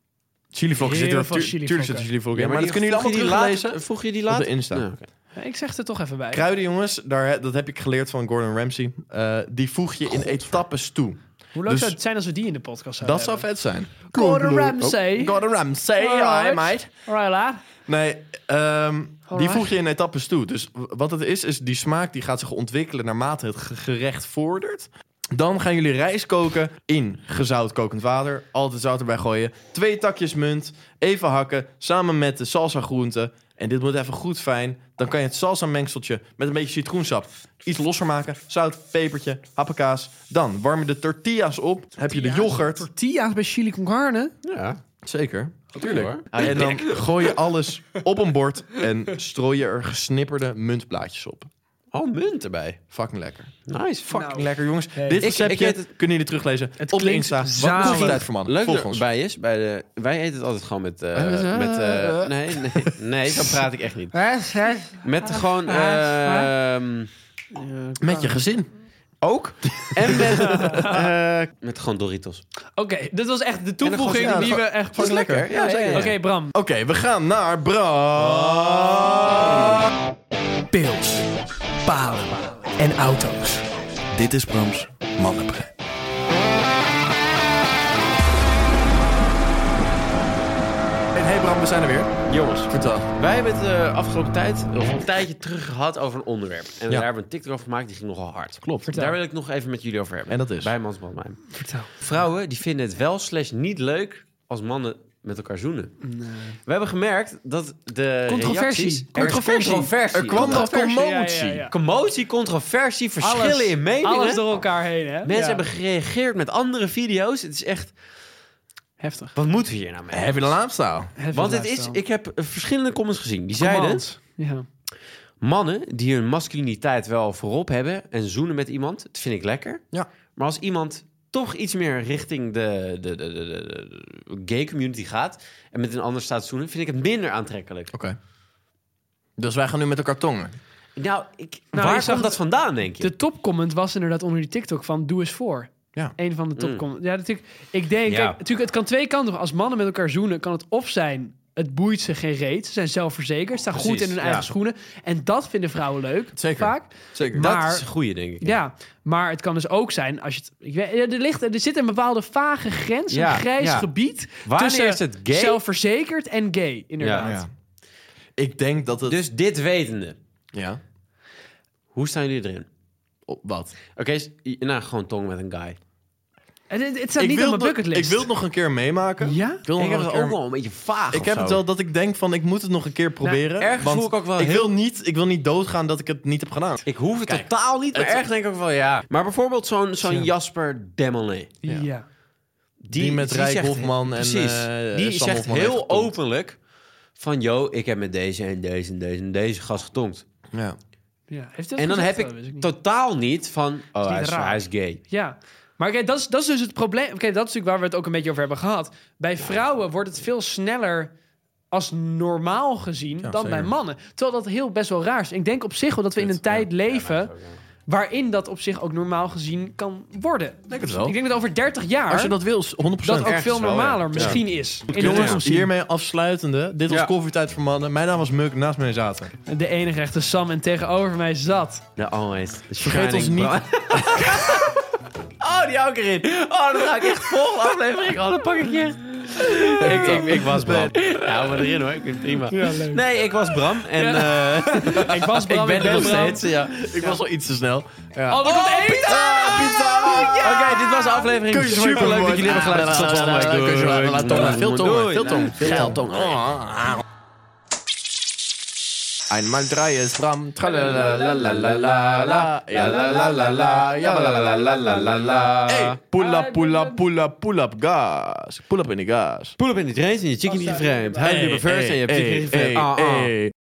Speaker 1: Chilivlokken
Speaker 2: Heel
Speaker 1: zitten er
Speaker 2: veel
Speaker 1: natuurlijk
Speaker 2: chilivlokken.
Speaker 1: zitten chilivlokken in. Maar,
Speaker 3: die
Speaker 1: dat kunnen jullie
Speaker 3: voeg
Speaker 1: allemaal
Speaker 3: je die
Speaker 1: teruglezen
Speaker 3: later- Voeg je die
Speaker 1: op
Speaker 3: later?
Speaker 1: de Insta.
Speaker 3: Nee, oké.
Speaker 2: Ik zeg er toch even bij.
Speaker 1: Kruiden, jongens, daar, he- dat heb ik geleerd van Gordon Ramsay. Eh, die voeg je in etappes toe.
Speaker 2: Hoe leuk
Speaker 1: dus-
Speaker 2: zou het zijn als we die in de podcast zouden
Speaker 1: Dat zou vet zijn.
Speaker 2: Eh, Gordon Ramsay.
Speaker 1: Oh, Gordon Ramsay, hi
Speaker 2: Alright.
Speaker 1: mate.
Speaker 2: Alright, laat.
Speaker 1: Nee, ehm, die
Speaker 2: Alright.
Speaker 1: voeg je in etappes toe. Dus w- wat het is, is die smaak die gaat zich ontwikkelen naarmate het ge- gerecht vordert. Dan gaan jullie rijst koken in gezout kokend water. Altijd zout erbij gooien. Twee takjes munt. Even hakken. Samen met de salsa groenten. En dit moet even goed fijn. Dan kan je het salsa mengseltje met een beetje citroensap iets losser maken. Zout, pepertje, happakaas. Dan warm je de tortillas op. Heb je de yoghurt.
Speaker 2: Tortilla's bij chili con carne.
Speaker 3: Ja,
Speaker 1: Zeker.
Speaker 3: natuurlijk hoor.
Speaker 1: En dan gooi je alles op een bord en strooi je er gesnipperde muntblaadjes op.
Speaker 3: Oh, munt erbij.
Speaker 1: Fucking lekker.
Speaker 3: Nice.
Speaker 2: Fucking Nou.
Speaker 1: Lekker jongens.
Speaker 2: Hey.
Speaker 1: Dit
Speaker 3: Ik- ik
Speaker 1: receptje
Speaker 3: weet het-
Speaker 1: kunnen jullie teruglezen
Speaker 2: Het
Speaker 1: op de
Speaker 2: klinkt
Speaker 1: Insta. Wat
Speaker 2: zalig.
Speaker 1: moet je tijd voor mannen?
Speaker 3: Leuk
Speaker 1: Volg
Speaker 3: dat
Speaker 1: ons.
Speaker 3: erbij is. Bij de, wij eten het altijd gewoon met... eh,
Speaker 1: Eh,
Speaker 3: met eh,
Speaker 1: eh.
Speaker 3: nee, nee, nee, zo praat ik echt niet. Met gewoon... ehm,
Speaker 1: Met je gezin.
Speaker 3: ook. En met... eh, met gewoon Doritos.
Speaker 2: Oké, dit was echt de toevoeging
Speaker 1: gewoon-
Speaker 2: die
Speaker 1: ja,
Speaker 2: we echt...
Speaker 1: Dat is lekker. Ja, zeker.
Speaker 2: Oké, Bram.
Speaker 1: Oké, we gaan naar Bra.
Speaker 5: pils, palen en auto's. Dit is Brams Mannenbrein.
Speaker 1: En hey Bram, we zijn er weer.
Speaker 3: Jongens,
Speaker 1: Vertel.
Speaker 3: wij hebben het eh, afgelopen tijd, of een tijdje terug gehad over een onderwerp. En daar hebben we een TikTok over gemaakt, die ging nogal hard. Klopt. Daar wil ik nog even met jullie over hebben.
Speaker 1: En dat is?
Speaker 3: Bij Mans Brandmijn. Vertel. Vrouwen die vinden het wel slash niet leuk als mannen met elkaar zoenen. We hebben gemerkt dat de
Speaker 2: Controversie.
Speaker 3: reacties- Er is
Speaker 2: Controversie.
Speaker 3: controversie.
Speaker 1: Er kwam wat
Speaker 2: Controversie, ja, ja,
Speaker 1: commotie.
Speaker 2: ja.
Speaker 3: Commotie, controversie, verschillen
Speaker 2: Alles-
Speaker 3: in meningen.
Speaker 2: Alles door elkaar heen, hè?
Speaker 3: Mensen
Speaker 2: Ja.
Speaker 3: hebben gereageerd met andere video's. Het is echt,
Speaker 2: Heftig.
Speaker 3: wat moeten we hier nou mee?
Speaker 1: Heb je de laatste al?
Speaker 2: Heftig
Speaker 3: Want het
Speaker 2: luisteren.
Speaker 3: is, ik heb eh, verschillende comments gezien. Die zeiden...
Speaker 2: Command. Ja.
Speaker 3: mannen die hun masculiniteit wel voorop hebben en zoenen met iemand, dat vind ik lekker.
Speaker 1: Ja.
Speaker 3: Maar als iemand toch iets meer richting de, de, de, de, de- de gay community gaat en met een ander staat zoenen, vind ik het minder aantrekkelijk.
Speaker 1: Oké. Dus wij gaan nu met elkaar tongen.
Speaker 3: Nou, ik,
Speaker 2: Nou,
Speaker 3: waar
Speaker 2: ik
Speaker 3: komt
Speaker 2: zag
Speaker 3: dat
Speaker 2: het-
Speaker 3: vandaan, denk je?
Speaker 2: De topcomment was inderdaad onder die TikTok van doe eens voor.
Speaker 1: Ja.
Speaker 2: Een van de topcomment. Ja, natuurlijk. Ik denk,
Speaker 3: Ja.
Speaker 2: kijk, natuurlijk, het kan twee kanten. op. Als mannen met elkaar zoenen, kan het of zijn. Het boeit ze geen reet. Ze zijn zelfverzekerd. Staan goed in hun eigen schoenen. En dat vinden vrouwen leuk.
Speaker 1: Zeker.
Speaker 2: Vaak.
Speaker 1: Zeker.
Speaker 3: dat
Speaker 2: maar-
Speaker 3: is een goeie, denk ik.
Speaker 2: Ja, maar het kan dus ook zijn als je het. Ik weet, er, ligt, er zit een bepaalde vage grens,
Speaker 3: Ja,
Speaker 2: een grijs
Speaker 3: ja.
Speaker 2: gebied.
Speaker 3: Wanneer
Speaker 2: tussen
Speaker 3: is het gay?
Speaker 2: Zelfverzekerd en gay, inderdaad.
Speaker 3: Ja.
Speaker 1: Ik denk dat het...
Speaker 3: Dus dit wetende,
Speaker 1: Ja.
Speaker 3: hoe staan jullie erin?
Speaker 1: Op wat?
Speaker 3: Oké, s- nou, gewoon tong met een guy.
Speaker 2: Het, het, het staat niet op mijn
Speaker 1: wil het nog-
Speaker 2: bucketlist.
Speaker 1: ik wil het nog een keer meemaken.
Speaker 2: Ja?
Speaker 1: Ik wil
Speaker 3: ik
Speaker 1: nog
Speaker 3: heb
Speaker 1: een
Speaker 3: het
Speaker 1: keer...
Speaker 3: ook wel een beetje vaag
Speaker 1: Ik
Speaker 3: of
Speaker 1: heb
Speaker 3: zo.
Speaker 1: het wel dat ik denk van ik moet het nog een keer proberen.
Speaker 3: Nou, ergens
Speaker 1: want
Speaker 3: voel ik ook wel heel-
Speaker 1: wil niet, ik wil niet doodgaan dat ik het niet heb gedaan.
Speaker 3: Ik hoef het totaal niet, maar
Speaker 1: het-
Speaker 3: erg denk ik ook wel, ja. Maar bijvoorbeeld zo'n zo'n Jasper Demelé.
Speaker 2: ja.
Speaker 3: Die,
Speaker 1: met
Speaker 3: die
Speaker 1: Rijk
Speaker 3: zegt-
Speaker 1: Hofman en,
Speaker 3: Precies.
Speaker 1: eh,
Speaker 3: die
Speaker 1: Sam
Speaker 3: zegt
Speaker 1: Hofman heeft
Speaker 3: heel
Speaker 1: getonkt.
Speaker 3: openlijk van... yo, ik heb met deze en deze en deze en deze gast getonkt.
Speaker 1: Ja.
Speaker 2: Ja. Heeft hij dat
Speaker 3: en dan
Speaker 2: gezegd?
Speaker 3: heb
Speaker 2: Oh, dat
Speaker 3: ik,
Speaker 2: wist niet.
Speaker 3: totaal niet van... oh, hij is,
Speaker 2: raar.
Speaker 3: hij is gay.
Speaker 2: Ja, maar kijk, dat, is, dat is dus het probleem. Oké, dat is natuurlijk waar we het ook een beetje over hebben gehad. Bij vrouwen wordt het veel sneller als normaal gezien dan
Speaker 1: zeker.
Speaker 2: bij mannen. Terwijl dat heel best wel raar is. Ik denk op zich wel dat we in een tijd leven waarin dat op zich ook normaal gezien kan worden.
Speaker 1: denk het wel.
Speaker 2: Ik denk dat over 30 jaar
Speaker 1: Als je dat wil, 100%
Speaker 2: dat ook
Speaker 1: ergens
Speaker 2: veel
Speaker 1: wel, ja.
Speaker 2: normaler
Speaker 1: Ja.
Speaker 2: misschien is. In de
Speaker 1: Jongens,
Speaker 2: toekomst
Speaker 1: hiermee afsluitende. Dit was
Speaker 3: Ja.
Speaker 1: Koffietijd voor Mannen. Mijn naam was Muk, naast mij zaten.
Speaker 2: De enige echte Sam en tegenover mij zat.
Speaker 3: The always. the
Speaker 1: Vergeet ons
Speaker 3: shining
Speaker 1: niet.
Speaker 3: bright- oh, die hou ik erin. Oh, dat ga ik echt vol aflevering. Oh, dat pak ik je echt. ik, ik, ik was Bram. Ja, hou maar erin hoor. Ik vind het prima. Nee, ik was Bram. En eh,
Speaker 2: Ik was Bram,
Speaker 3: ik ben er nog
Speaker 2: Bram.
Speaker 3: steeds. Ja.
Speaker 1: Ik was al iets te snel.
Speaker 2: Oh, er komt één!
Speaker 3: Ah, Oké, dit was de aflevering.
Speaker 1: Kusjes voor je
Speaker 3: Super leuk dat jullie
Speaker 1: tonghoor.
Speaker 3: hebben geluisterd. Tot volgende week.
Speaker 1: Kusjes voor
Speaker 3: Doei.
Speaker 1: je tonghoor. Veel tonghoor,
Speaker 3: Doei.
Speaker 1: veel tonghoor.
Speaker 3: Veel tonghoor.
Speaker 1: Einmal drei ist Bram. Tralalalala. Ja la la la la. Ja la la la la la la. Ey, pull up, pull up, pull up, pull up, gas. Pull up in die gas.
Speaker 3: Pull up in die trains en je chickie niet vreemd. Hij
Speaker 1: Hey,
Speaker 3: doet reverse en je hebt
Speaker 1: hey,
Speaker 3: chickie niet
Speaker 1: hey,
Speaker 3: vreemd. Ah, ah.
Speaker 1: hey.